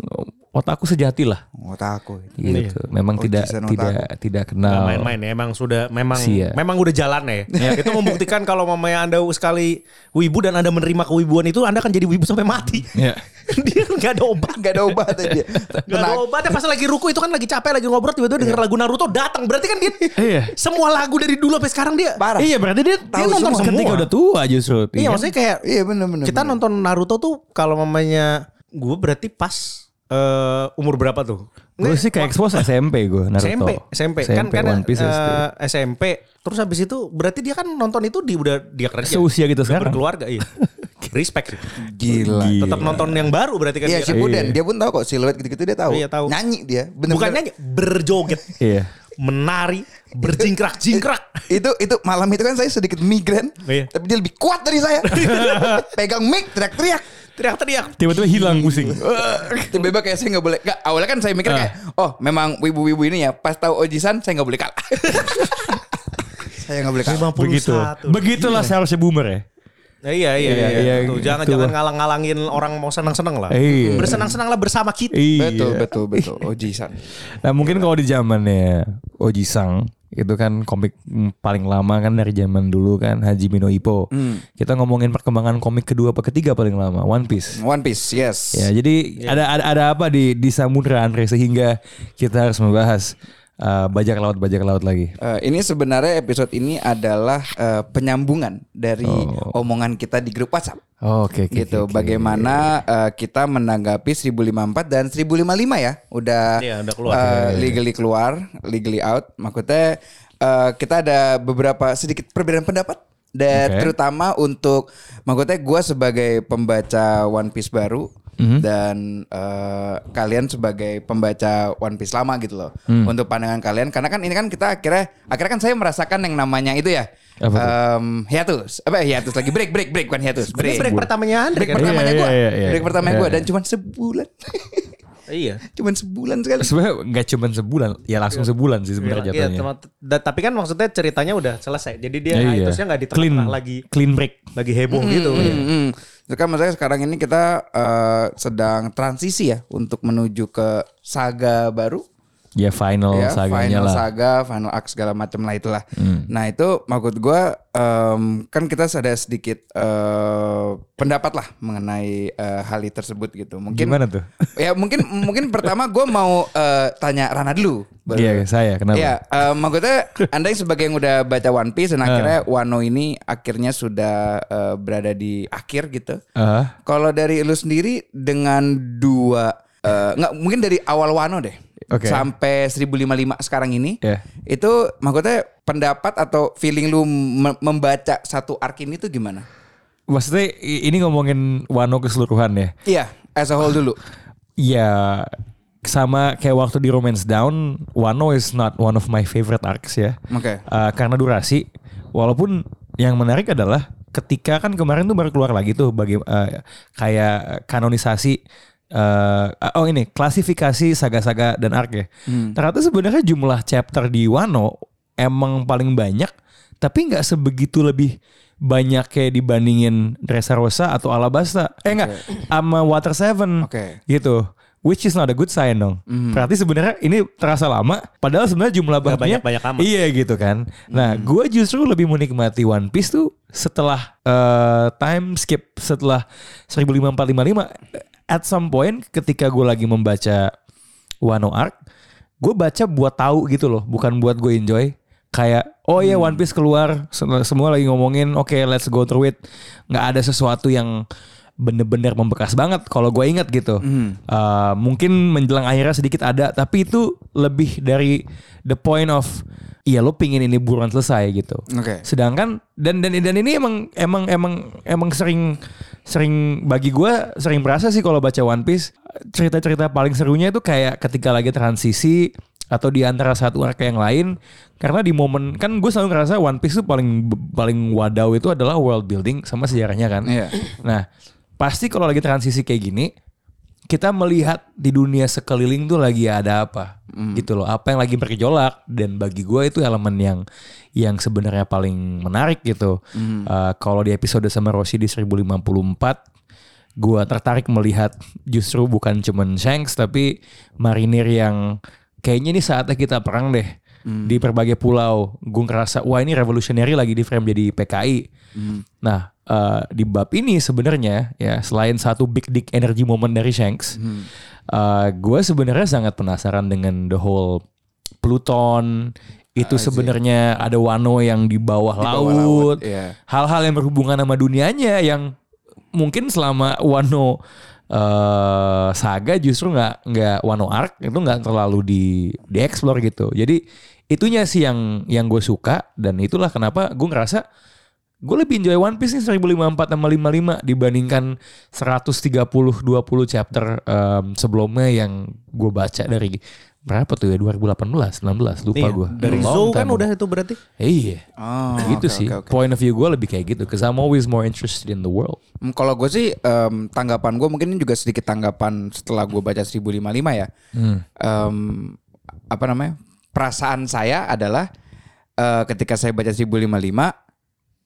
S2: otakku sejati lah
S3: iya. Otaku.
S2: gitu memang tidak
S3: Jason
S2: tidak tidak
S4: Nggak
S2: kenal
S4: main-main ya emang sudah memang
S2: Sia.
S4: memang udah jalan ya. itu membuktikan kalau mamanya Anda sekali wibu dan Anda menerima kewibuan itu Anda akan jadi wibu sampai mati.
S2: Iya.
S4: Dia nggak ada obat.
S3: Gak ada obat dia.
S4: Gak ada obatnya pas lagi ruku itu kan lagi capek lagi ngobrol tiba-tiba denger lagu Naruto datang. Berarti kan dia
S2: Iya.
S4: semua lagu dari dulu sampai sekarang dia
S3: Parah.
S2: iya berarti dia
S4: Tahu semua.
S2: ketika udah tua justru
S4: Iya maksudnya kayak
S3: Iya benar benar.
S4: kita nonton Naruto tuh kalau mamanya gue berarti pas eh, umur berapa tuh? ya?
S2: gue sih kayak expose SMP gue Naruto
S4: SMP, SMP, kan kan
S2: One Piece
S4: eh,
S2: SD.
S4: SMP. Terus habis itu berarti dia kan nonton itu di udah dia kerja.
S2: Seusia kita
S4: Udah
S2: sekarang.
S4: Berkeluarga, iya. Respect sih.
S3: gila.
S4: Tetap nonton yang baru berarti kan
S3: Iya
S4: dia. kan.
S3: Shippuden dia pun tahu kok siluet gitu-gitu dia tahu.
S4: Iya, tahu.
S3: Nyanyi dia. Bener-bener.
S4: Bukan nyanyi, berjoget.
S2: Iya.
S4: Menari, berjingkrak-jingkrak.
S3: itu itu malam itu kan saya sedikit migren,
S4: Iya.
S3: tapi dia lebih kuat dari saya. Pegang mic teriak-teriak.
S4: Teriak-teriak.
S2: tiba-tiba hilang pusing
S3: Tiba-tiba kayak saya nggak boleh. Nggak, awalnya kan saya mikir kayak, oh memang wibu-wibu ini ya. Pas tahu ojisan saya nggak boleh kalah. saya nggak boleh kalah.
S4: 51.
S2: begitu begitulah seharusnya boomer ya
S4: Nah, iya, iya, iya.
S2: Iya, iya,
S4: Tuh,
S2: gitu.
S4: jangan, jangan ngalang-ngalangin orang mau senang-senang lah.
S2: Iya.
S4: Bersenang-senang lah bersama kita.
S2: Iya.
S3: Betul betul betul ojisan.
S2: Nah mungkin kalau di zamannya Oji Sang itu kan komik mm, paling lama kan dari zaman dulu kan Hajime no Ippo.
S4: Hmm.
S2: Kita ngomongin perkembangan komik kedua apa ketiga paling lama One Piece.
S3: One Piece yes.
S2: Ya jadi ada ada ada apa di di samudra Andre sehingga kita harus membahas uh, bajak laut bajak laut lagi.
S3: Eh, ini sebenarnya episode ini adalah eh, penyambungan dari omongan kita di grup WhatsApp.
S2: Oh, Oke oke,
S3: gitu
S2: oke, oke.
S3: bagaimana eh, kita menanggapi 1054 dan 1055 ya udah
S4: Iya, udah keluar.
S3: eh, legally keluar legally out maksudnya eh, kita ada beberapa sedikit perbedaan pendapat dan
S2: Oke.
S3: terutama untuk maksudnya gue sebagai pembaca One Piece baru
S2: Mhm.
S3: dan eh, kalian sebagai pembaca One Piece lama gitu loh
S2: Hmm.
S3: untuk pandangan kalian karena kan ini kan kita akhirnya akhirnya kan saya merasakan yang namanya itu ya
S2: Apa tuh?
S3: em, hiatus apa ya, hiatus lagi break break break bukan hiatus
S4: Ini break pertamanya Andre
S3: break
S4: kan?
S3: pertamanya
S2: Iya,
S3: gue
S2: iya, iya,
S3: break
S2: iya.
S3: pertamanya
S2: Iya,
S3: gue
S2: iya.
S3: dan cuman sebulan
S4: Iya.
S3: cuman sebulan sekali
S2: Sebenarnya nggak cuma sebulan, ya langsung sebulan sih sebenarnya
S4: Iya,
S2: jatuhnya.
S4: cuma- da- tapi kan maksudnya ceritanya udah selesai. Jadi dia
S2: Iya, iya.
S4: hiatusnya nggak di
S2: clean
S4: tengah-tengah lagi
S2: clean break.
S4: lagi heboh gitu. Iya.
S3: Mm-mm. Terus kan maksudnya sekarang ini kita eh, sedang transisi ya untuk menuju ke saga baru
S2: Ya final
S3: ya,
S2: saganya
S3: final
S2: lah. Hmm.
S3: saga, final arc segala macam lah itulah. Nah itu maksud gue kan kita ada sedikit eh, pendapat lah mengenai eh, hal itu tersebut gitu. Mungkin
S2: Gimana tuh?
S3: ya mungkin mungkin pertama gue mau eh, tanya Rana dulu. Baru-
S2: Iya saya kenapa?
S3: Iya, eh, maksudnya Anda yang sebagai yang udah baca One Piece
S2: Eh.
S3: dan akhirnya Wano ini akhirnya sudah eh, berada di akhir gitu.
S2: Ah.
S3: Kalau dari lu sendiri dengan dua eh, nggak mungkin dari awal Wano deh.
S2: Oke.
S3: Sampai 1055 sekarang ini.
S2: Iya.
S3: Itu maksudnya pendapat atau feeling lu me- membaca satu arc ini tuh gimana?
S2: Maksudnya i- ini ngomongin Wano keseluruhan ya.
S3: Iya, as a whole dulu.
S2: Ya sama kayak waktu di Romance Down, Wano is not one of my favorite arcs ya.
S3: Oke.
S2: Eh, karena durasi. Walaupun yang menarik adalah ketika kan kemarin tuh baru keluar lagi tuh bagi eh, kayak kanonisasi eh, oh ini klasifikasi saga-saga dan arc ya. Ternyata sebenarnya jumlah chapter di Wano emang paling banyak tapi nggak sebegitu lebih banyak kayak dibandingin Dressrosa atau Alabasta. Eh enggak, sama Water Seven
S3: Oke.
S2: gitu. Which is not a good sign dong. Berarti sebenarnya ini terasa lama. Padahal sebenarnya jumlah
S4: Nggak
S2: babnya
S4: banyak-banyak amat.
S2: Iya gitu kan. Nah, gua justru lebih menikmati One Piece tuh setelah eh, time skip setelah 15455 eh, at some point ketika gue lagi membaca Wano Arc, gue baca buat tahu gitu loh, bukan buat gue enjoy. Kayak oh iya One Piece keluar, se- semua lagi ngomongin oke let's go through it. nggak ada sesuatu yang bener-bener membekas banget kalau gue ingat gitu. Eh, mungkin menjelang akhirnya sedikit ada, tapi itu lebih dari the point of iya lo pingin ini buruan selesai gitu.
S3: Oke.
S2: Sedangkan dan dan dan ini emang emang emang emang sering sering bagi gua sering berasa sih kalau baca One Piece cerita-cerita paling serunya itu kayak ketika lagi transisi atau di antara satu arc yang lain karena di momen kan gue selalu ngerasa One Piece itu paling paling wadaw itu adalah world building sama sejarahnya kan.
S3: Iya.
S2: Nah, pasti kalau lagi transisi kayak gini, kita melihat di dunia sekeliling tuh lagi ada apa, gitu loh. Apa yang lagi bergejolak dan bagi gue itu elemen yang yang sebenarnya paling menarik gitu. Eh, kalau di episode sama Rossi di 1054 gue tertarik melihat justru bukan cuman Shanks tapi marinir yang kayaknya ini saatnya kita perang deh di berbagai pulau. Gue ngerasa wah ini revolutionary lagi di frame jadi PKI. Nah eh, di bab ini sebenarnya ya selain satu big dick energy moment dari Shanks, gue sebenarnya sangat penasaran dengan the whole Pluton itu sebenarnya ada Wano yang di bawah,
S3: bawah laut,
S2: laut,
S3: iya.
S2: hal-hal yang berhubungan sama dunianya yang mungkin selama Wano eh, saga justru nggak nggak Wano arc itu nggak terlalu di dieksplor gitu. Jadi itunya sih yang yang gue suka dan itulah kenapa gue ngerasa gue lebih enjoy One Piece nih 1054 sama 55 dibandingkan 130 20 chapter em, sebelumnya yang gue baca dari berapa tuh ya 2018 19 lupa
S4: Iya,
S2: gue
S4: Dari Zou kan udah itu berarti.
S2: Iya.
S3: Oh,
S2: gitu
S3: oke,
S2: sih.
S3: oke, oke.
S2: Point of view gue lebih kayak gitu. Cause I'm always more interested in the world.
S3: Hmm, Kalau gue sih em, tanggapan gue mungkin ini juga sedikit tanggapan setelah gue baca 1055 ya.
S2: Hmm.
S3: Em, apa namanya? Perasaan saya adalah eh, ketika saya baca 1055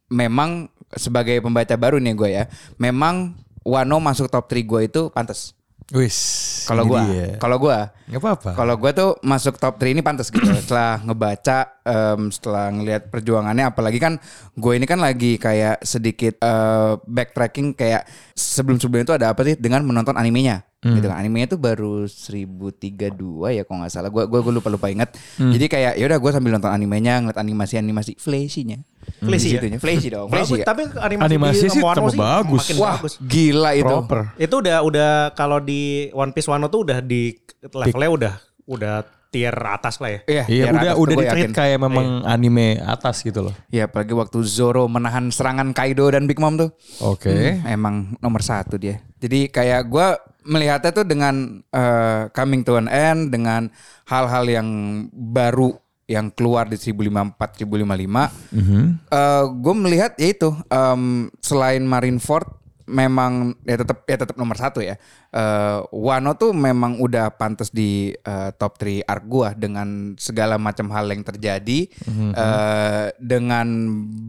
S3: memang sebagai pembaca baru nih gue ya. Memang Wano masuk top 3 gue itu pantas.
S2: Wis.
S3: Kalau gue, kalau gue
S2: Gak apa-apa.
S3: kalau gue tuh masuk top 3 ini pantas gitu setelah ngebaca, em, setelah ngelihat perjuangannya, apalagi kan gue ini kan lagi kayak sedikit eh, backtracking kayak sebelum sebelumnya itu ada apa sih dengan menonton animenya, gitu kan? Animenya tuh baru 1032 ya kalau nggak salah, gue gue lupa lupa inget. Jadi kayak yaudah gue sambil nonton animenya ngeliat animasi animasi flashy-nya,
S4: Flashy ya?
S3: Disitunya. flashy dong,
S4: Bagus,
S3: flashy. ya.
S4: tapi animasi,
S2: Animasi
S4: di
S2: sih
S4: Moano
S2: tambah bagus.
S4: Makin
S3: Wah
S4: bagus.
S3: gila itu.
S2: Proper.
S4: Itu udah udah kalau di One Piece Wano tuh udah di levelnya udah udah tier atas lah ya.
S2: Iya udah
S3: biar atas tuh
S2: udah
S3: gue
S2: di
S3: yakin. Iya.
S2: kayak memang anime atas gitu loh.
S3: Ya apalagi waktu Zoro menahan serangan Kaido dan Big Mom tuh.
S2: Oke.
S3: Hmm, Emang nomor satu dia. Jadi kayak gue melihatnya tuh dengan eh, coming to an end, dengan hal-hal yang baru yang keluar di 1054, 1055. gue melihat ya itu em, selain Marineford memang ya tetap ya tetap nomor satu ya. Eh, Wano tuh memang udah pantas di eh, top 3 arc gua dengan segala macam hal yang terjadi eh, dengan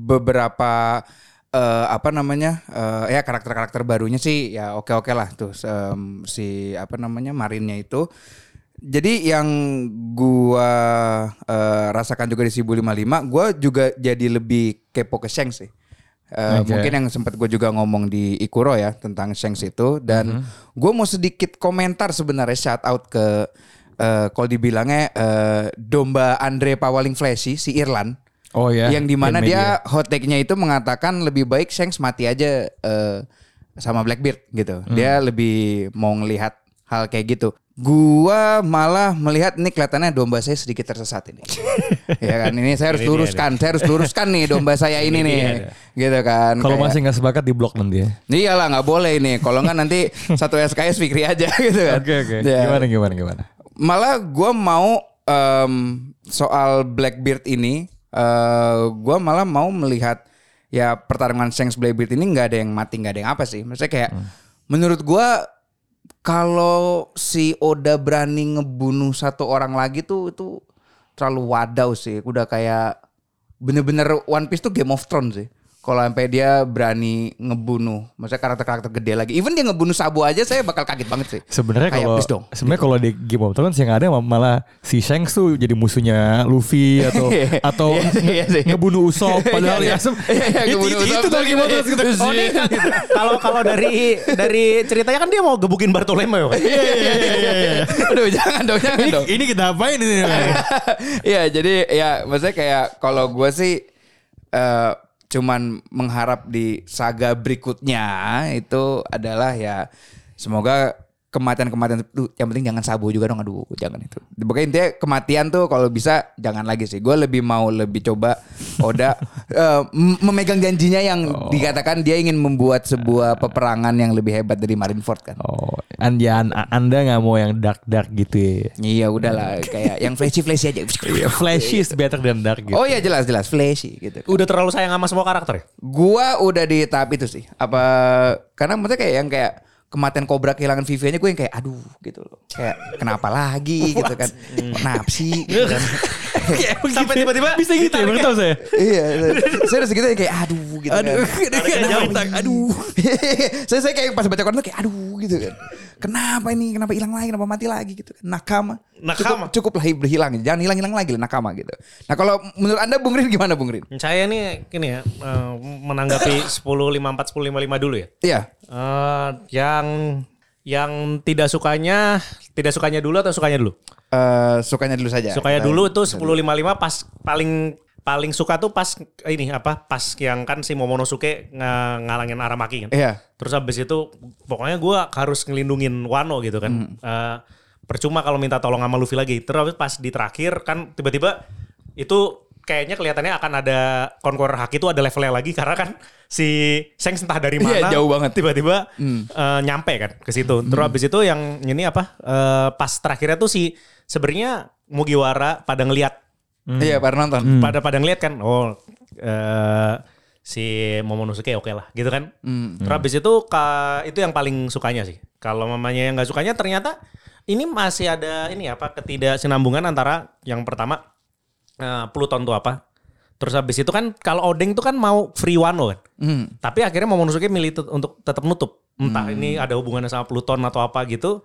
S3: beberapa eh, apa namanya eh, ya karakter-karakter barunya sih ya oke oke lah tuh em, si apa namanya Marinnya itu Jadi yang gua eh, rasakan juga di Sibu 55, gua juga jadi lebih kepo ke Shanks sih. Eh,
S2: Oke.
S3: Mungkin yang sempat gue juga ngomong di Ikuro ya tentang Shanks itu dan gue mau sedikit komentar sebenarnya shout out ke eh, kalau dibilangnya eh, domba Andre Pawaling Flashy si Irlan
S2: Oh ya.
S3: yang
S2: Ian
S3: dimana
S2: Media.
S3: dia hot take-nya itu mengatakan lebih baik Shanks mati aja eh, sama Blackbeard gitu.
S2: Hmm.
S3: Dia lebih mau ngelihat hal kayak gitu. Gua malah melihat ini kelihatannya domba saya sedikit tersesat ini. ya kan ini saya harus luruskan, saya harus luruskan nih domba saya ini, nih. Gitu kan.
S2: Kalau
S3: Kayak-
S2: masih nggak sepakat di blok nanti ya.
S3: Iyalah nggak boleh ini. Kalau nggak nanti satu SKS Fikri aja gitu kan.
S2: Oke oke.
S3: Ya.
S2: Gimana gimana gimana.
S3: Malah gue mau em, soal Blackbeard ini, gue malah mau melihat ya pertarungan Shanks Blackbeard ini nggak ada yang mati nggak ada yang apa sih. Maksudnya kayak
S2: Hmm.
S3: menurut gue kalau si Oda berani ngebunuh satu orang lagi tuh itu terlalu wadau sih. Udah kayak bener-bener One Piece tuh Game of Thrones sih. Kalau sampai dia berani ngebunuh, maksudnya karakter-karakter gede lagi. Even dia ngebunuh Sabo aja saya bakal kaget banget sih.
S2: Sebenarnya
S3: Kayak
S2: kalau
S3: please dong.
S2: sebenarnya kalau di Game of Thrones yang ada malah si Shanks tuh jadi musuhnya Luffy atau atau
S3: Iya sih, iya sih.
S2: nge- ngebunuh Usopp padahal ya
S3: Iya, iya.
S2: sem-
S3: Iya, iya,
S2: itu
S3: ngebunuh
S2: itu-
S3: Usopp.
S2: itu tuh Game of Thrones gitu.
S4: Oh, ini kan- kalau kalau dari dari ceritanya kan dia mau gebukin Bartolomeo. kan?
S3: Iya, iya, iya, iya. Aduh jangan dong, jangan
S2: Ini,
S3: dong.
S2: ini kita apain ini?
S3: Iya jadi ya maksudnya kayak kalau gue sih eh, cuman mengharap di saga berikutnya itu adalah ya semoga kematian-kematian Duh, yang penting jangan sabu juga dong aduh jangan itu pokoknya intinya kematian tuh kalau bisa jangan lagi sih gue lebih mau lebih coba Oda eh, m- memegang janjinya yang
S2: Oh.
S3: dikatakan dia ingin membuat sebuah peperangan yang lebih hebat dari Marineford kan
S2: Oh, Andian, Anda nggak mau yang dark dark gitu ya?
S3: iya udahlah kayak yang flashy flashy aja
S2: Flashy is better than dark gitu.
S3: oh iya jelas jelas flashy gitu
S4: Udah terlalu sayang sama semua karakter ya?
S3: Gua udah di tahap itu sih. Apa karena maksudnya kayak yang kayak kematian kobra kehilangan Vivi nya gue yang kayak aduh gitu loh. Kayak kenapa lagi gitu kan. Napsi gitu kan.
S4: Sampai tiba-tiba
S2: bisa Iya, gitu ya, baru tahu saya.
S3: iya, saya udah segitu kayak aduh gitu kan.
S4: jauh.
S3: aduh. saya saya kayak pas baca koran tuh kayak aduh gitu kan. Kenapa ini? Kenapa hilang lagi? Kenapa mati lagi gitu kan. Nakama.
S4: Nakama.
S3: Cukup, cukuplah berhilang. Jangan hilang-hilang lagi lah nakama gitu. Nah, kalau menurut Anda Bung Rin gimana Bung Rin?
S4: Saya nih gini ya, eh, menanggapi 1054 1055 dulu ya.
S3: Iya.
S4: Eh, yang yang tidak sukanya, tidak sukanya dulu atau sukanya dulu?
S3: Eh, sukanya dulu saja.
S4: Sukanya
S3: Kita-
S4: dulu tuh 1055 pas paling paling suka tuh pas ini apa? Pas yang kan si Momonosuke nge- ngalangin Aramaki kan.
S3: Iya.
S4: Terus habis itu pokoknya gua harus ngelindungin Wano gitu
S3: Hmm.
S4: kan. Eh, percuma kalau minta tolong sama Luffy lagi. Terus pas di terakhir kan tiba-tiba itu kayaknya kelihatannya akan ada Conqueror Haki itu ada levelnya lagi karena kan si Shanks entah dari mana
S3: Iya, jauh banget. Hmm.
S4: tiba-tiba eh, nyampe kan ke situ. Terus habis itu yang ini apa? eh, pas terakhirnya tuh si sebenarnya Mugiwara pada ngelihat Hmm.
S3: Iya, para nonton.
S4: pada pada ngeliat kan oh eh si Momonosuke oke lah gitu kan terus habis itu ka- itu yang paling sukanya sih kalau mamanya yang nggak sukanya ternyata ini masih ada ini apa ketidaksinambungan antara yang pertama eh, Pluton tuh apa terus habis itu kan kalau Odeng tuh kan mau free Wano kan
S3: Hmm.
S4: tapi akhirnya Momonosuke milih tet- untuk tetap nutup. Entah ini ada hubungannya sama Pluton atau apa gitu.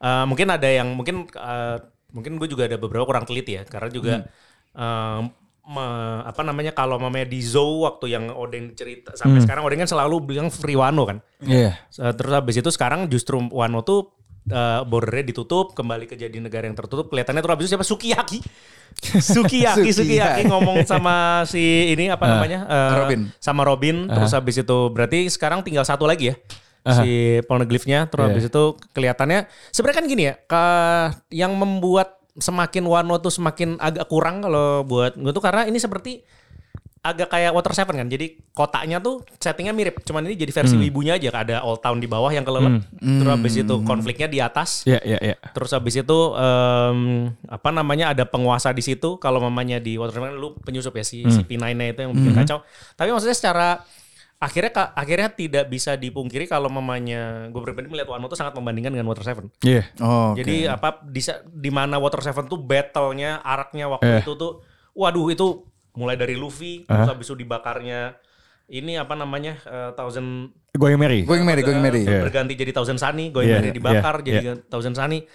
S4: Eh, mungkin ada yang mungkin eh, mungkin gue juga ada beberapa kurang teliti ya karena juga eh, me- apa namanya kalau mamanya di Zou waktu yang Odeng cerita sampai sekarang Odeng kan selalu bilang free Wano kan.
S2: Iya.
S4: Eh, Terus habis itu sekarang justru Wano tuh eh, bordernya ditutup, kembali ke jadi negara yang tertutup. Kelihatannya terus habis itu siapa? Sukiyaki.
S3: Sukiyaki.
S4: Sukiyaki, Sukiyaki ngomong sama si ini apa namanya? eh,
S3: Robin.
S4: Sama Robin. Eh. Terus habis itu berarti sekarang tinggal satu lagi ya. Si poneglyphnya terus habis itu kelihatannya sebenarnya kan gini ya, ke, yang membuat semakin Wano tuh semakin agak kurang kalau buat gue tuh karena ini seperti agak kayak Water Seven kan. Jadi kotanya tuh settingnya mirip, cuman ini jadi versi wibunya aja. Ada Old Town di bawah yang kelelep. Terus habis itu konfliknya di atas.
S2: Iya iya iya.
S4: Terus habis itu em, apa namanya ada penguasa di situ. Kalau mamanya di Water Seven lu penyusup ya si si P9-nya itu yang bikin kacau. Tapi maksudnya secara akhirnya ka- akhirnya tidak bisa dipungkiri kalau mamanya gue pribadi melihat Wano tuh sangat membandingkan dengan Water Seven.
S2: Iya.
S3: Oh,
S4: Jadi apa di sa- di mana Water Seven tuh battle-nya araknya
S2: Eh.
S4: waktu itu tuh waduh itu mulai dari Luffy terus habis itu dibakarnya ini apa namanya eh, Thousand
S2: Going Mary.
S4: Iya.
S3: going Mary, going Mary.
S4: berganti jadi Thousand Sunny, Going
S2: Iya,
S4: Mary
S2: iya,
S4: dibakar
S2: iya,
S4: jadi Thousand Sunny.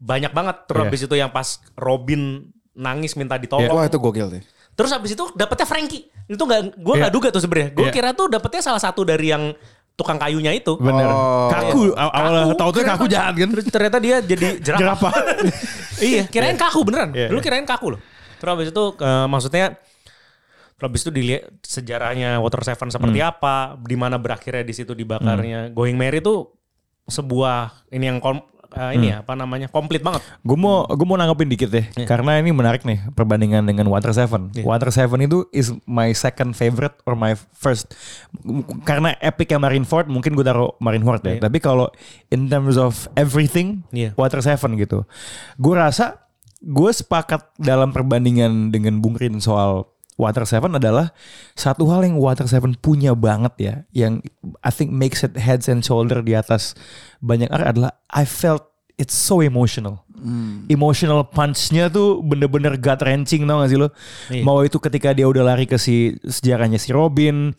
S4: banyak banget. Terus
S2: Iya.
S4: habis itu yang pas Robin nangis minta
S3: Wah
S4: ditolong.
S3: itu gokil deh.
S4: Terus habis itu dapetnya Frankie. Itu nggak, gue
S2: Iya.
S4: nggak duga tuh sebenarnya. Gue
S2: Iya.
S4: kira tuh dapetnya salah satu dari yang tukang kayunya itu.
S2: Bener.
S3: Oh.
S2: kaku aw- awalnya
S4: Kaku,
S2: tahu tuh
S4: kenapa?
S2: kaku jahat kan.
S4: Terus ternyata dia jadi jerapah.
S2: Jerapah.
S4: iya, kirain kaku beneran.
S2: Iya,
S4: Dulu
S2: iya.
S4: kirain kaku loh. Terus habis itu eh, maksudnya terus habis itu dilihat sejarahnya Water Seven seperti
S2: Hmm.
S4: apa, di mana berakhirnya di situ dibakarnya. Going Merry itu sebuah ini yang kom- eh,
S2: Hmm.
S4: ini ya, apa namanya? komplit banget.
S2: Gue mau gue mau nanggepin dikit deh, karena ini menarik nih perbandingan dengan Water Seven. Water Seven itu is my second favorite or my first, M- karena epic yang Marineford mungkin gue taruh Marineford deh. Tapi kalau in terms of everything,
S4: Iya.
S2: Water Seven gitu. Gue rasa gue sepakat dalam perbandingan dengan Bung Rin soal Water Seven adalah satu hal yang Water Seven punya banget ya, yang I think makes it heads and shoulder di atas banyak art adalah I felt it's so emotional. Emotional punch-nya tuh bener-bener gut wrenching tau gak sih lo?
S4: Iya.
S2: Mau itu ketika dia udah lari ke si sejarahnya si Robin,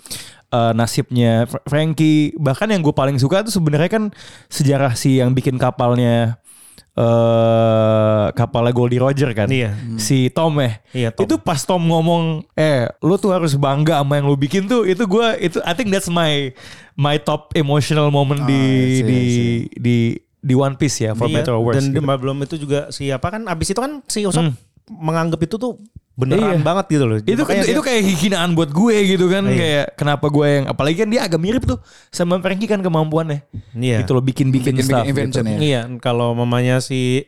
S2: eh, nasibnya Fra- Frankie, bahkan yang gue paling suka tuh sebenarnya kan sejarah si yang bikin kapalnya eh kapalnya Goldie Roger kan.
S4: Iya.
S2: Si Tom eh.
S4: Iya, Tom.
S2: Itu pas Tom ngomong, "Eh, lu tuh harus bangga sama yang lu bikin tuh." Itu gua itu I think that's my my top emotional moment
S4: Ah,
S2: di
S3: I see, I
S2: di di di One Piece ya, for
S4: Iya,
S2: better or worse.
S4: Dan
S2: gitu. Hmm.
S4: belum itu juga siapa kan abis itu kan si Usopp menganggap itu tuh beneran
S2: Iya.
S4: banget gitu loh.
S2: itu
S4: Makanya
S2: itu
S4: dia- Iya.
S2: kayak hinaan buat gue gitu kan kayak kenapa gue yang apalagi kan dia agak mirip tuh sama Frankie kan kemampuannya
S4: Iya.
S2: gitu loh bikin-bikin
S3: Bikin-bikin
S2: stuff
S3: invention
S2: gitu.
S3: ya.
S4: Iya, kalau mamanya si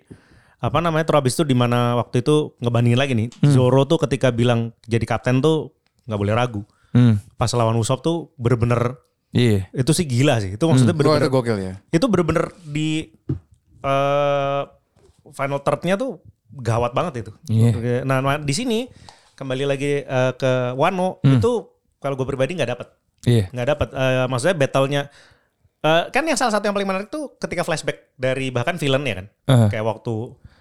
S4: apa namanya terus abis itu di mana waktu itu ngebandingin lagi nih
S2: Hmm.
S4: Zoro tuh ketika bilang jadi kapten tuh nggak boleh ragu
S2: Hmm,
S4: pas lawan Usopp tuh bener-bener
S2: iya
S4: itu sih gila sih itu maksudnya
S2: Hmm.
S3: Oh
S4: bener-bener
S3: itu gokil ya.
S4: itu bener-bener di eh final third-nya tuh gawat banget itu.
S2: Iya.
S4: Nah, nah, di sini kembali lagi eh, ke Wano
S2: Hmm.
S4: itu kalau gue pribadi nggak dapat,
S2: iya
S4: nggak dapat. Eh, maksudnya battle-nya eh, kan yang salah satu yang paling menarik tuh ketika flashback dari bahkan villain ya kan,
S2: Uh-huh.
S4: kayak waktu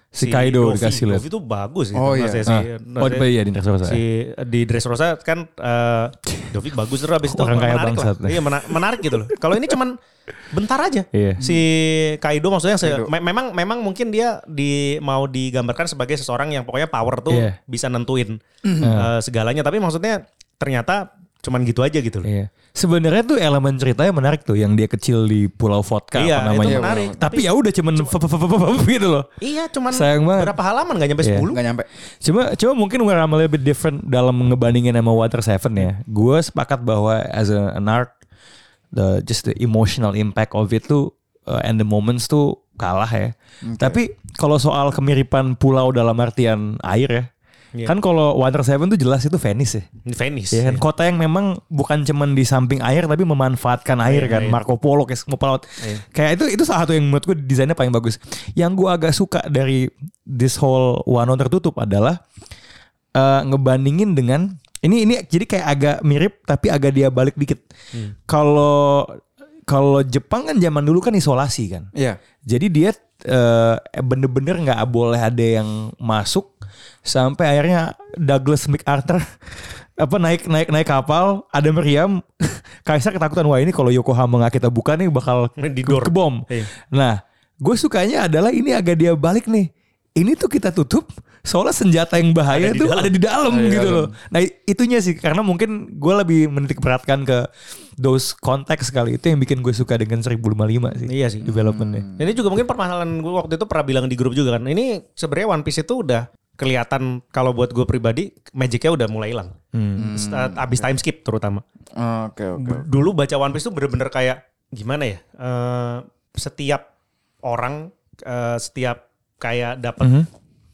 S2: Si Kaido dikasih lihat.
S4: Luffy itu bagus
S3: Oh, iya.
S4: itu, maksudnya
S2: Ah.
S4: si-
S2: oh
S4: maksudnya
S2: iya di Dressrosa ya.
S4: si di Dressrosa kan eh Dovi bagus terus abis itu
S2: Orang kaya
S4: menarik
S2: bangsat.
S4: lah. Iya mena- menarik gitu loh. Kalau ini cuman bentar aja.
S2: Iya.
S4: Si Kaido maksudnya se-
S3: Kaido.
S4: me- memang memang mungkin dia di mau digambarkan sebagai seseorang yang pokoknya power tuh
S2: Iya.
S4: bisa nentuin eh, segalanya tapi maksudnya ternyata cuman gitu aja gitu loh.
S2: Iya. Sebenarnya tuh elemen ceritanya menarik tuh yang dia kecil di Pulau Vodka
S4: Iya,
S2: apa
S4: itu
S2: namanya.
S4: menarik.
S2: Tapi ya udah cuman fep- fep- fep- fep gitu loh.
S4: Iya, cuman
S2: Sayang banget.
S4: berapa halaman gak nyampe
S2: Iya.
S4: 10.
S3: Gak nyampe.
S2: Cuma cuma mungkin where I'm a little bit different dalam ngebandingin sama Water Seven ya. Gue sepakat bahwa as a- an art the just the emotional impact of it tuh uh, and the moments tuh kalah ya. Tapi kalau soal kemiripan pulau dalam artian air ya.
S4: Iya.
S2: Kan kalau Water Seven tuh jelas itu Venice ya.
S4: Venice.
S2: Ya kan kota yang memang bukan cuman di samping air tapi memanfaatkan air kan Marco Polo kayak semua pelaut. Kayak itu itu salah satu yang menurut gue desainnya paling bagus. Yang gue agak suka dari this whole Wano tertutup adalah eh, ngebandingin dengan ini ini jadi kayak agak mirip tapi agak dia balik dikit. Kalau kalau Jepang kan zaman dulu kan isolasi kan.
S3: Iya.
S2: Jadi dia eh, bener-bener nggak boleh ada yang masuk sampai akhirnya Douglas MacArthur apa naik naik naik kapal ada meriam Kaisar ketakutan wah ini kalau Yokohama nggak kita buka nih bakal ke-
S4: Didor.
S2: kebom.
S4: Iya.
S2: Nah gue sukanya adalah ini agak dia balik nih. Ini tuh kita tutup soalnya senjata yang bahaya
S4: Ada di
S2: tuh
S4: dalam.
S2: ada di dalam
S3: Ada di
S2: gitu
S3: dalam.
S2: loh. Nah itunya sih karena mungkin gue lebih menitik beratkan ke those konteks kali itu yang bikin gue suka dengan 1055 sih.
S4: Iya sih.
S2: Developmentnya.
S4: Ini juga mungkin permasalahan gue waktu itu pernah bilang di grup juga kan. Ini sebenarnya One Piece itu udah kelihatan kalau buat gue pribadi magicnya udah mulai hilang.
S2: Hmm.
S4: Saat- Abis time skip terutama.
S3: Oh, Oke oke. oke.
S4: Dulu baca One Piece tuh bener-bener kayak gimana ya? Eh, setiap orang, eh, setiap kayak dapat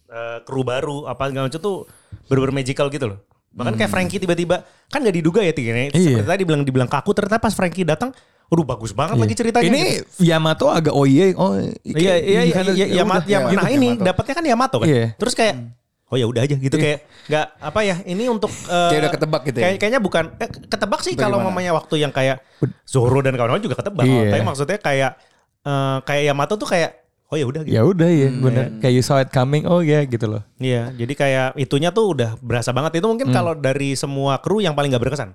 S4: eh, kru baru apa segala macam tuh bener-bener magical gitu loh. Bahkan kayak Frankie tiba-tiba kan gak diduga ya
S2: Iya.
S4: tingginya. Seperti tadi bilang dibilang kaku ternyata pas Frankie datang, aduh bagus banget lagi
S2: Iya.
S4: ceritanya.
S2: Ini
S4: gitu.
S2: Yamato agak oh iya oh
S4: Iya iya iya iya Yamato,
S3: ya, gitu,
S4: Nah ini
S3: Yamato. Hmm. Iya.
S4: dapatnya kan Yamato kan.
S2: Iya.
S4: Terus kayak oh ya udah aja gitu kayak nggak apa ya ini untuk eh,
S3: Kayak udah ketebak gitu ya?
S4: kayak- kayaknya bukan eh, ketebak sih kalau
S3: gimana?
S4: mamanya waktu yang kayak Zoro dan kawan-kawan juga ketebak.
S2: Iya.
S4: Tapi maksudnya kayak eh, kayak Yamato tuh kayak oh ya udah gitu.
S3: Iya.
S2: ya udah ya bener kayak you saw it coming oh ya gitu loh
S3: Hmm.
S4: Iya, jadi kayak itunya tuh udah berasa banget. Itu mungkin kalau dari semua kru yang paling gak berkesan.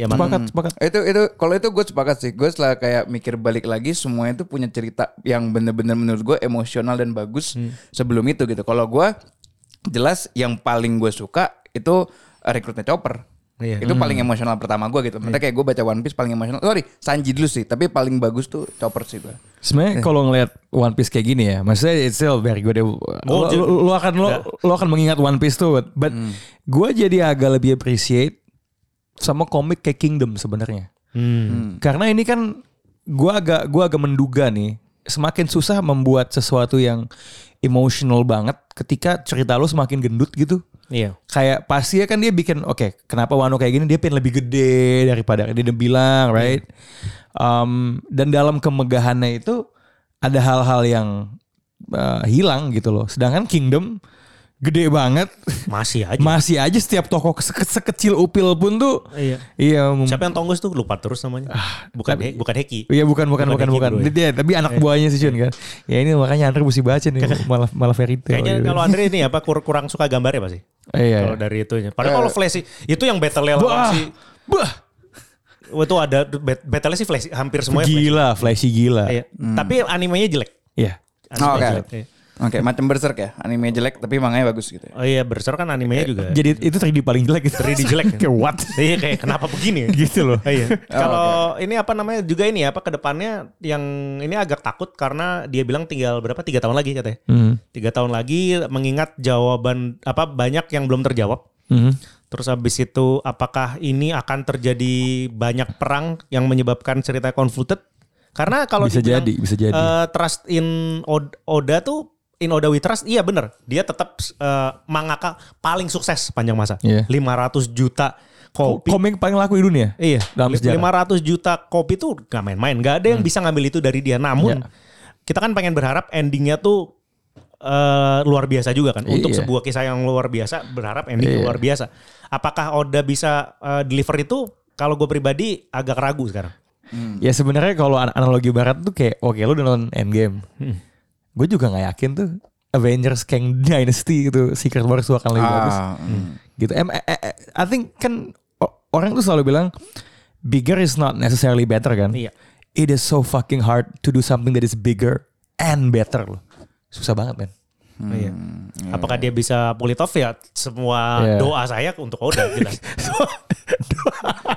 S4: Ya, mana-
S2: sepakat, sepakat.
S3: Itu itu kalau itu gue sepakat sih. Gue setelah kayak mikir balik lagi semua itu punya cerita yang bener-bener menurut gue emosional dan bagus
S4: Hmm.
S3: sebelum itu gitu. Kalau gue jelas yang paling gue suka itu eh, rekrutnya Chopper.
S4: Iya.
S3: Itu paling emosional pertama gue gitu. Makanya kayak gue baca One Piece paling emosional. Sorry, Sanji dulu sih. Tapi paling bagus tuh Chopper sih gue.
S2: Sebenarnya kalau ngelihat One Piece kayak gini ya, maksudnya it's still very good. Lu,
S4: Oh,
S2: lu, lu akan lu, lu akan mengingat One Piece tuh, but, but
S4: Hmm.
S2: gue jadi agak lebih appreciate sama komik kayak Kingdom sebenarnya.
S4: Hmm.
S2: Karena ini kan gue agak gua agak menduga nih, semakin susah membuat sesuatu yang emotional banget ketika cerita lu semakin gendut gitu.
S4: Iya.
S2: Kayak pasti kan dia bikin oke kenapa Wano kayak gini dia pengen lebih gede daripada dia udah bilang
S4: Iya.
S2: right Um, dan dalam kemegahannya itu ada hal-hal yang uh, hilang gitu loh sedangkan Kingdom gede banget
S4: Masih aja.
S2: masih aja setiap tokoh seke- sekecil upil pun tuh
S4: Iya.
S2: iya mem-
S4: Siapa yang tonggos tuh lupa terus namanya.
S3: Ah,
S4: bukan He- bukan Heki.
S2: Iya bukan bukan bukan
S4: Bukan
S2: bukan.
S4: Heki, bro,
S2: Dia
S4: ya?
S2: tapi anak buahnya sih Jun kan. Ya ini makanya Andre mesti baca nih malah malah fairy tale.
S4: Kayaknya
S2: gitu.
S4: kalau Andre ini apa kur- kurang suka gambarnya pasti.
S2: iya.
S4: Kalau dari itunya. Padahal kalau Flash sih, itu yang battle lawan
S2: Wah.
S4: si
S2: Bah.
S4: Wah, itu ada bet- battle-nya sih Flash hampir semuanya Flash.
S2: Gila, flashy gila. Oh, Iya.
S4: Iya. Tapi animenya jelek. Animenya
S3: Oke.
S4: jelek, iya.
S3: Oke, macam berserk ya. Anime jelek tapi manganya bagus gitu. Ya.
S4: Oh iya, Berserk kan animenya juga.
S2: Eh, Jadi itu 3D paling jelek gitu.
S4: 3D jelek.
S2: kayak what?
S4: Iya kayak kenapa begini?
S2: gitu loh.
S4: Iya. Kalau ini apa namanya juga ini ya, apa kedepannya yang ini agak takut karena dia bilang tinggal berapa tiga tahun lagi katanya.
S2: Hmm.
S4: Tiga tahun lagi mengingat jawaban apa banyak yang belum terjawab.
S2: Mhm.
S4: Terus habis itu apakah ini akan terjadi banyak perang yang menyebabkan cerita convoluted? Karena kalau
S2: Bisa
S4: dibilang,
S2: jadi, bisa jadi.
S4: eh, trust in Od- Oda tuh in Oda we trust, iya bener. Dia tetap eh, mangaka paling sukses panjang masa.
S2: Iya.
S4: 500 juta kopi.
S2: Komik paling laku di dunia.
S4: Iya,
S2: Dalam
S4: li-
S2: sejarah. Hmm.
S4: 500 juta kopi tuh gak main-main. Gak ada yang bisa ngambil itu dari dia.
S2: Iya.
S4: Namun kita kan pengen berharap endingnya tuh eh, luar biasa juga kan. Untuk
S2: Iya.
S4: sebuah kisah yang luar biasa, berharap
S2: Iya.
S4: ending luar biasa. Apakah Oda bisa eh, deliver itu? Kalau gue pribadi agak ragu sekarang.
S2: Ya sebenarnya kalau an- analogi barat tuh kayak oke lu udah nonton Endgame. Gue juga nggak yakin tuh Avengers Kang Dynasty itu Secret Wars tuh akan lebih bagus.
S3: Ah, hmm.
S2: Gitu. Em, eh, eh, eh, I think kan o- orang tuh selalu bilang bigger is not necessarily better kan.
S4: Iya.
S2: It is so fucking hard to do something that is bigger and better loh. Susah banget men.
S4: Iya. Apakah dia bisa pull it off ya? Semua
S2: Iya.
S4: doa saya untuk Oda jelas.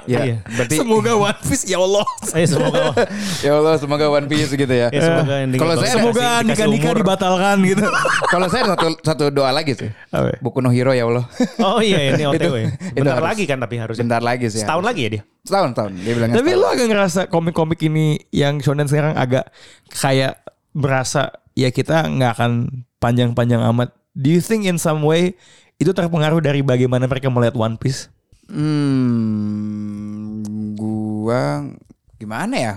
S3: Ya,
S4: Iya.
S3: berarti
S2: Semoga One Piece ya Allah.
S4: Eh, semoga
S3: ya Allah semoga One Piece gitu ya.
S4: ya, semoga endingnya
S3: Kalau
S4: bagus.
S3: saya-
S2: Semoga
S4: Dikasih- dikasih
S2: nikah-nikah
S4: umur.
S2: dibatalkan gitu.
S3: Kalau saya satu satu doa lagi sih.
S2: Apa?
S3: Buku no hero ya Allah.
S4: Oh iya
S3: Itu-
S4: ini OTW.
S3: itu
S4: Bentar
S3: harus.
S4: lagi kan tapi harusnya.
S3: Bentar lagi sih.
S4: Setahun lagi ya dia.
S3: Setahun, setahun. Dia bilangnya
S2: Tapi
S3: setahun.
S2: lo agak ngerasa komik-komik ini yang shonen sekarang agak kayak berasa ya kita nggak akan panjang-panjang amat. Do you think in some way itu terpengaruh dari bagaimana mereka melihat One Piece?
S3: Hmm, gua gimana ya?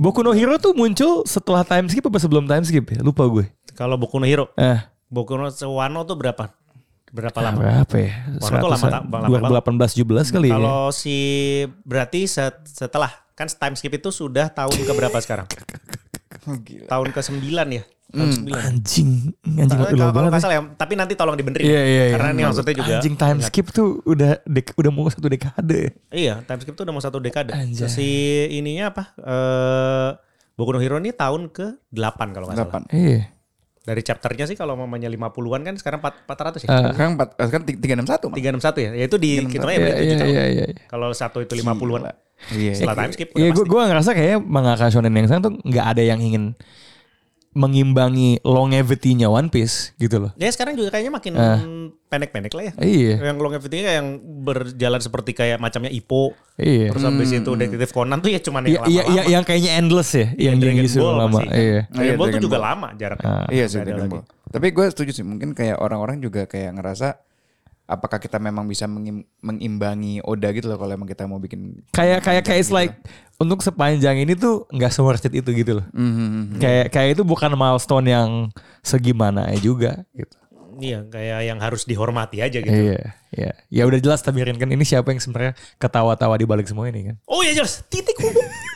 S2: Boku no Hero tuh muncul setelah time skip apa sebelum time skip ya? Lupa gue.
S4: Kalau Boku no Hero,
S2: Eh,
S4: Boku no Wano tuh berapa? Berapa lama?
S2: berapa ya?
S4: Wano tuh lama-
S2: 100-an,
S4: lama- lama
S2: 2018-17 kali ya.
S4: Kalau si berarti set- setelah kan time skip itu sudah tahun ke berapa sekarang?
S3: Oh, gila.
S4: Tahun ke sembilan ya. Tahun sembilan.
S2: Anjing, anjing udah
S4: Kalau- Kalau
S2: lama
S4: kalau
S2: banget.
S4: nggak
S2: ya.
S4: salah ya, tapi nanti tolong dibenerin.
S2: Iya, iya, iya.
S4: Karena ini maksudnya juga.
S2: Anjing time skip tuh udah dek, udah mau satu dekade.
S4: Iya, time skip itu udah mau satu dekade.
S2: Anjay.
S4: Si ininya apa? Eh Boku no Hero ini tahun ke 8 kalau nggak
S3: Delapan.
S4: salah.
S2: Iya.
S4: Dari chapternya sih kalau mamanya 50-an kan sekarang 4- 400 ya.
S2: Ah.
S3: Sekarang empat, eh, sekarang tiga enam satu.
S4: 361 ya. Ya itu di kita ya.
S2: Iya,
S4: berarti
S2: iya,
S4: itu.
S2: iya, iya.
S4: Kalau satu itu 50-an.
S3: Iya.
S4: Setelah time skip udah
S2: Iya, gue
S4: pasti.
S2: gue ngerasa kayaknya mangaka shonen yang sekarang tuh nggak ada yang ingin mengimbangi longevity-nya One Piece gitu loh.
S4: Ya sekarang juga kayaknya makin pendek-pendek lah ya.
S2: Ah. Iya,
S4: Yang long everything yang berjalan seperti kayak macamnya Ipo.
S2: iya.
S4: Terus habis itu Detektif Conan tuh ya cuman
S2: Iya,
S4: yang
S2: iya,
S4: lama-lama.
S2: iya, yang kayaknya endless ya, yang yang
S4: Dragon
S2: justru
S4: Ball
S2: lama.
S4: masih.
S2: Iya. Ah.
S4: Dragon
S3: Iya,
S4: Ball tuh
S3: Dragon
S4: juga
S3: Ball.
S4: lama jaraknya.
S3: Iya sih
S4: Nggak ada
S3: Dragon
S4: lagi.
S3: Ball. Tapi gue setuju sih mungkin kayak orang-orang juga kayak ngerasa apakah kita memang bisa mengim- mengimbangi Oda gitu loh kalau emang kita mau bikin
S2: Kayak kayak kayak it's like untuk sepanjang ini tuh nggak se-worth it itu gitu loh.
S4: Hmm, Mhm.
S2: Kayak kayak itu bukan milestone yang segimana ya juga gitu.
S4: Iya, kayak yang harus dihormati aja gitu.
S2: Iya, iya. Ya udah jelas tabirin kan ini siapa yang sebenarnya ketawa-tawa di balik semua ini kan.
S4: Oh iya jelas, titik kumpul.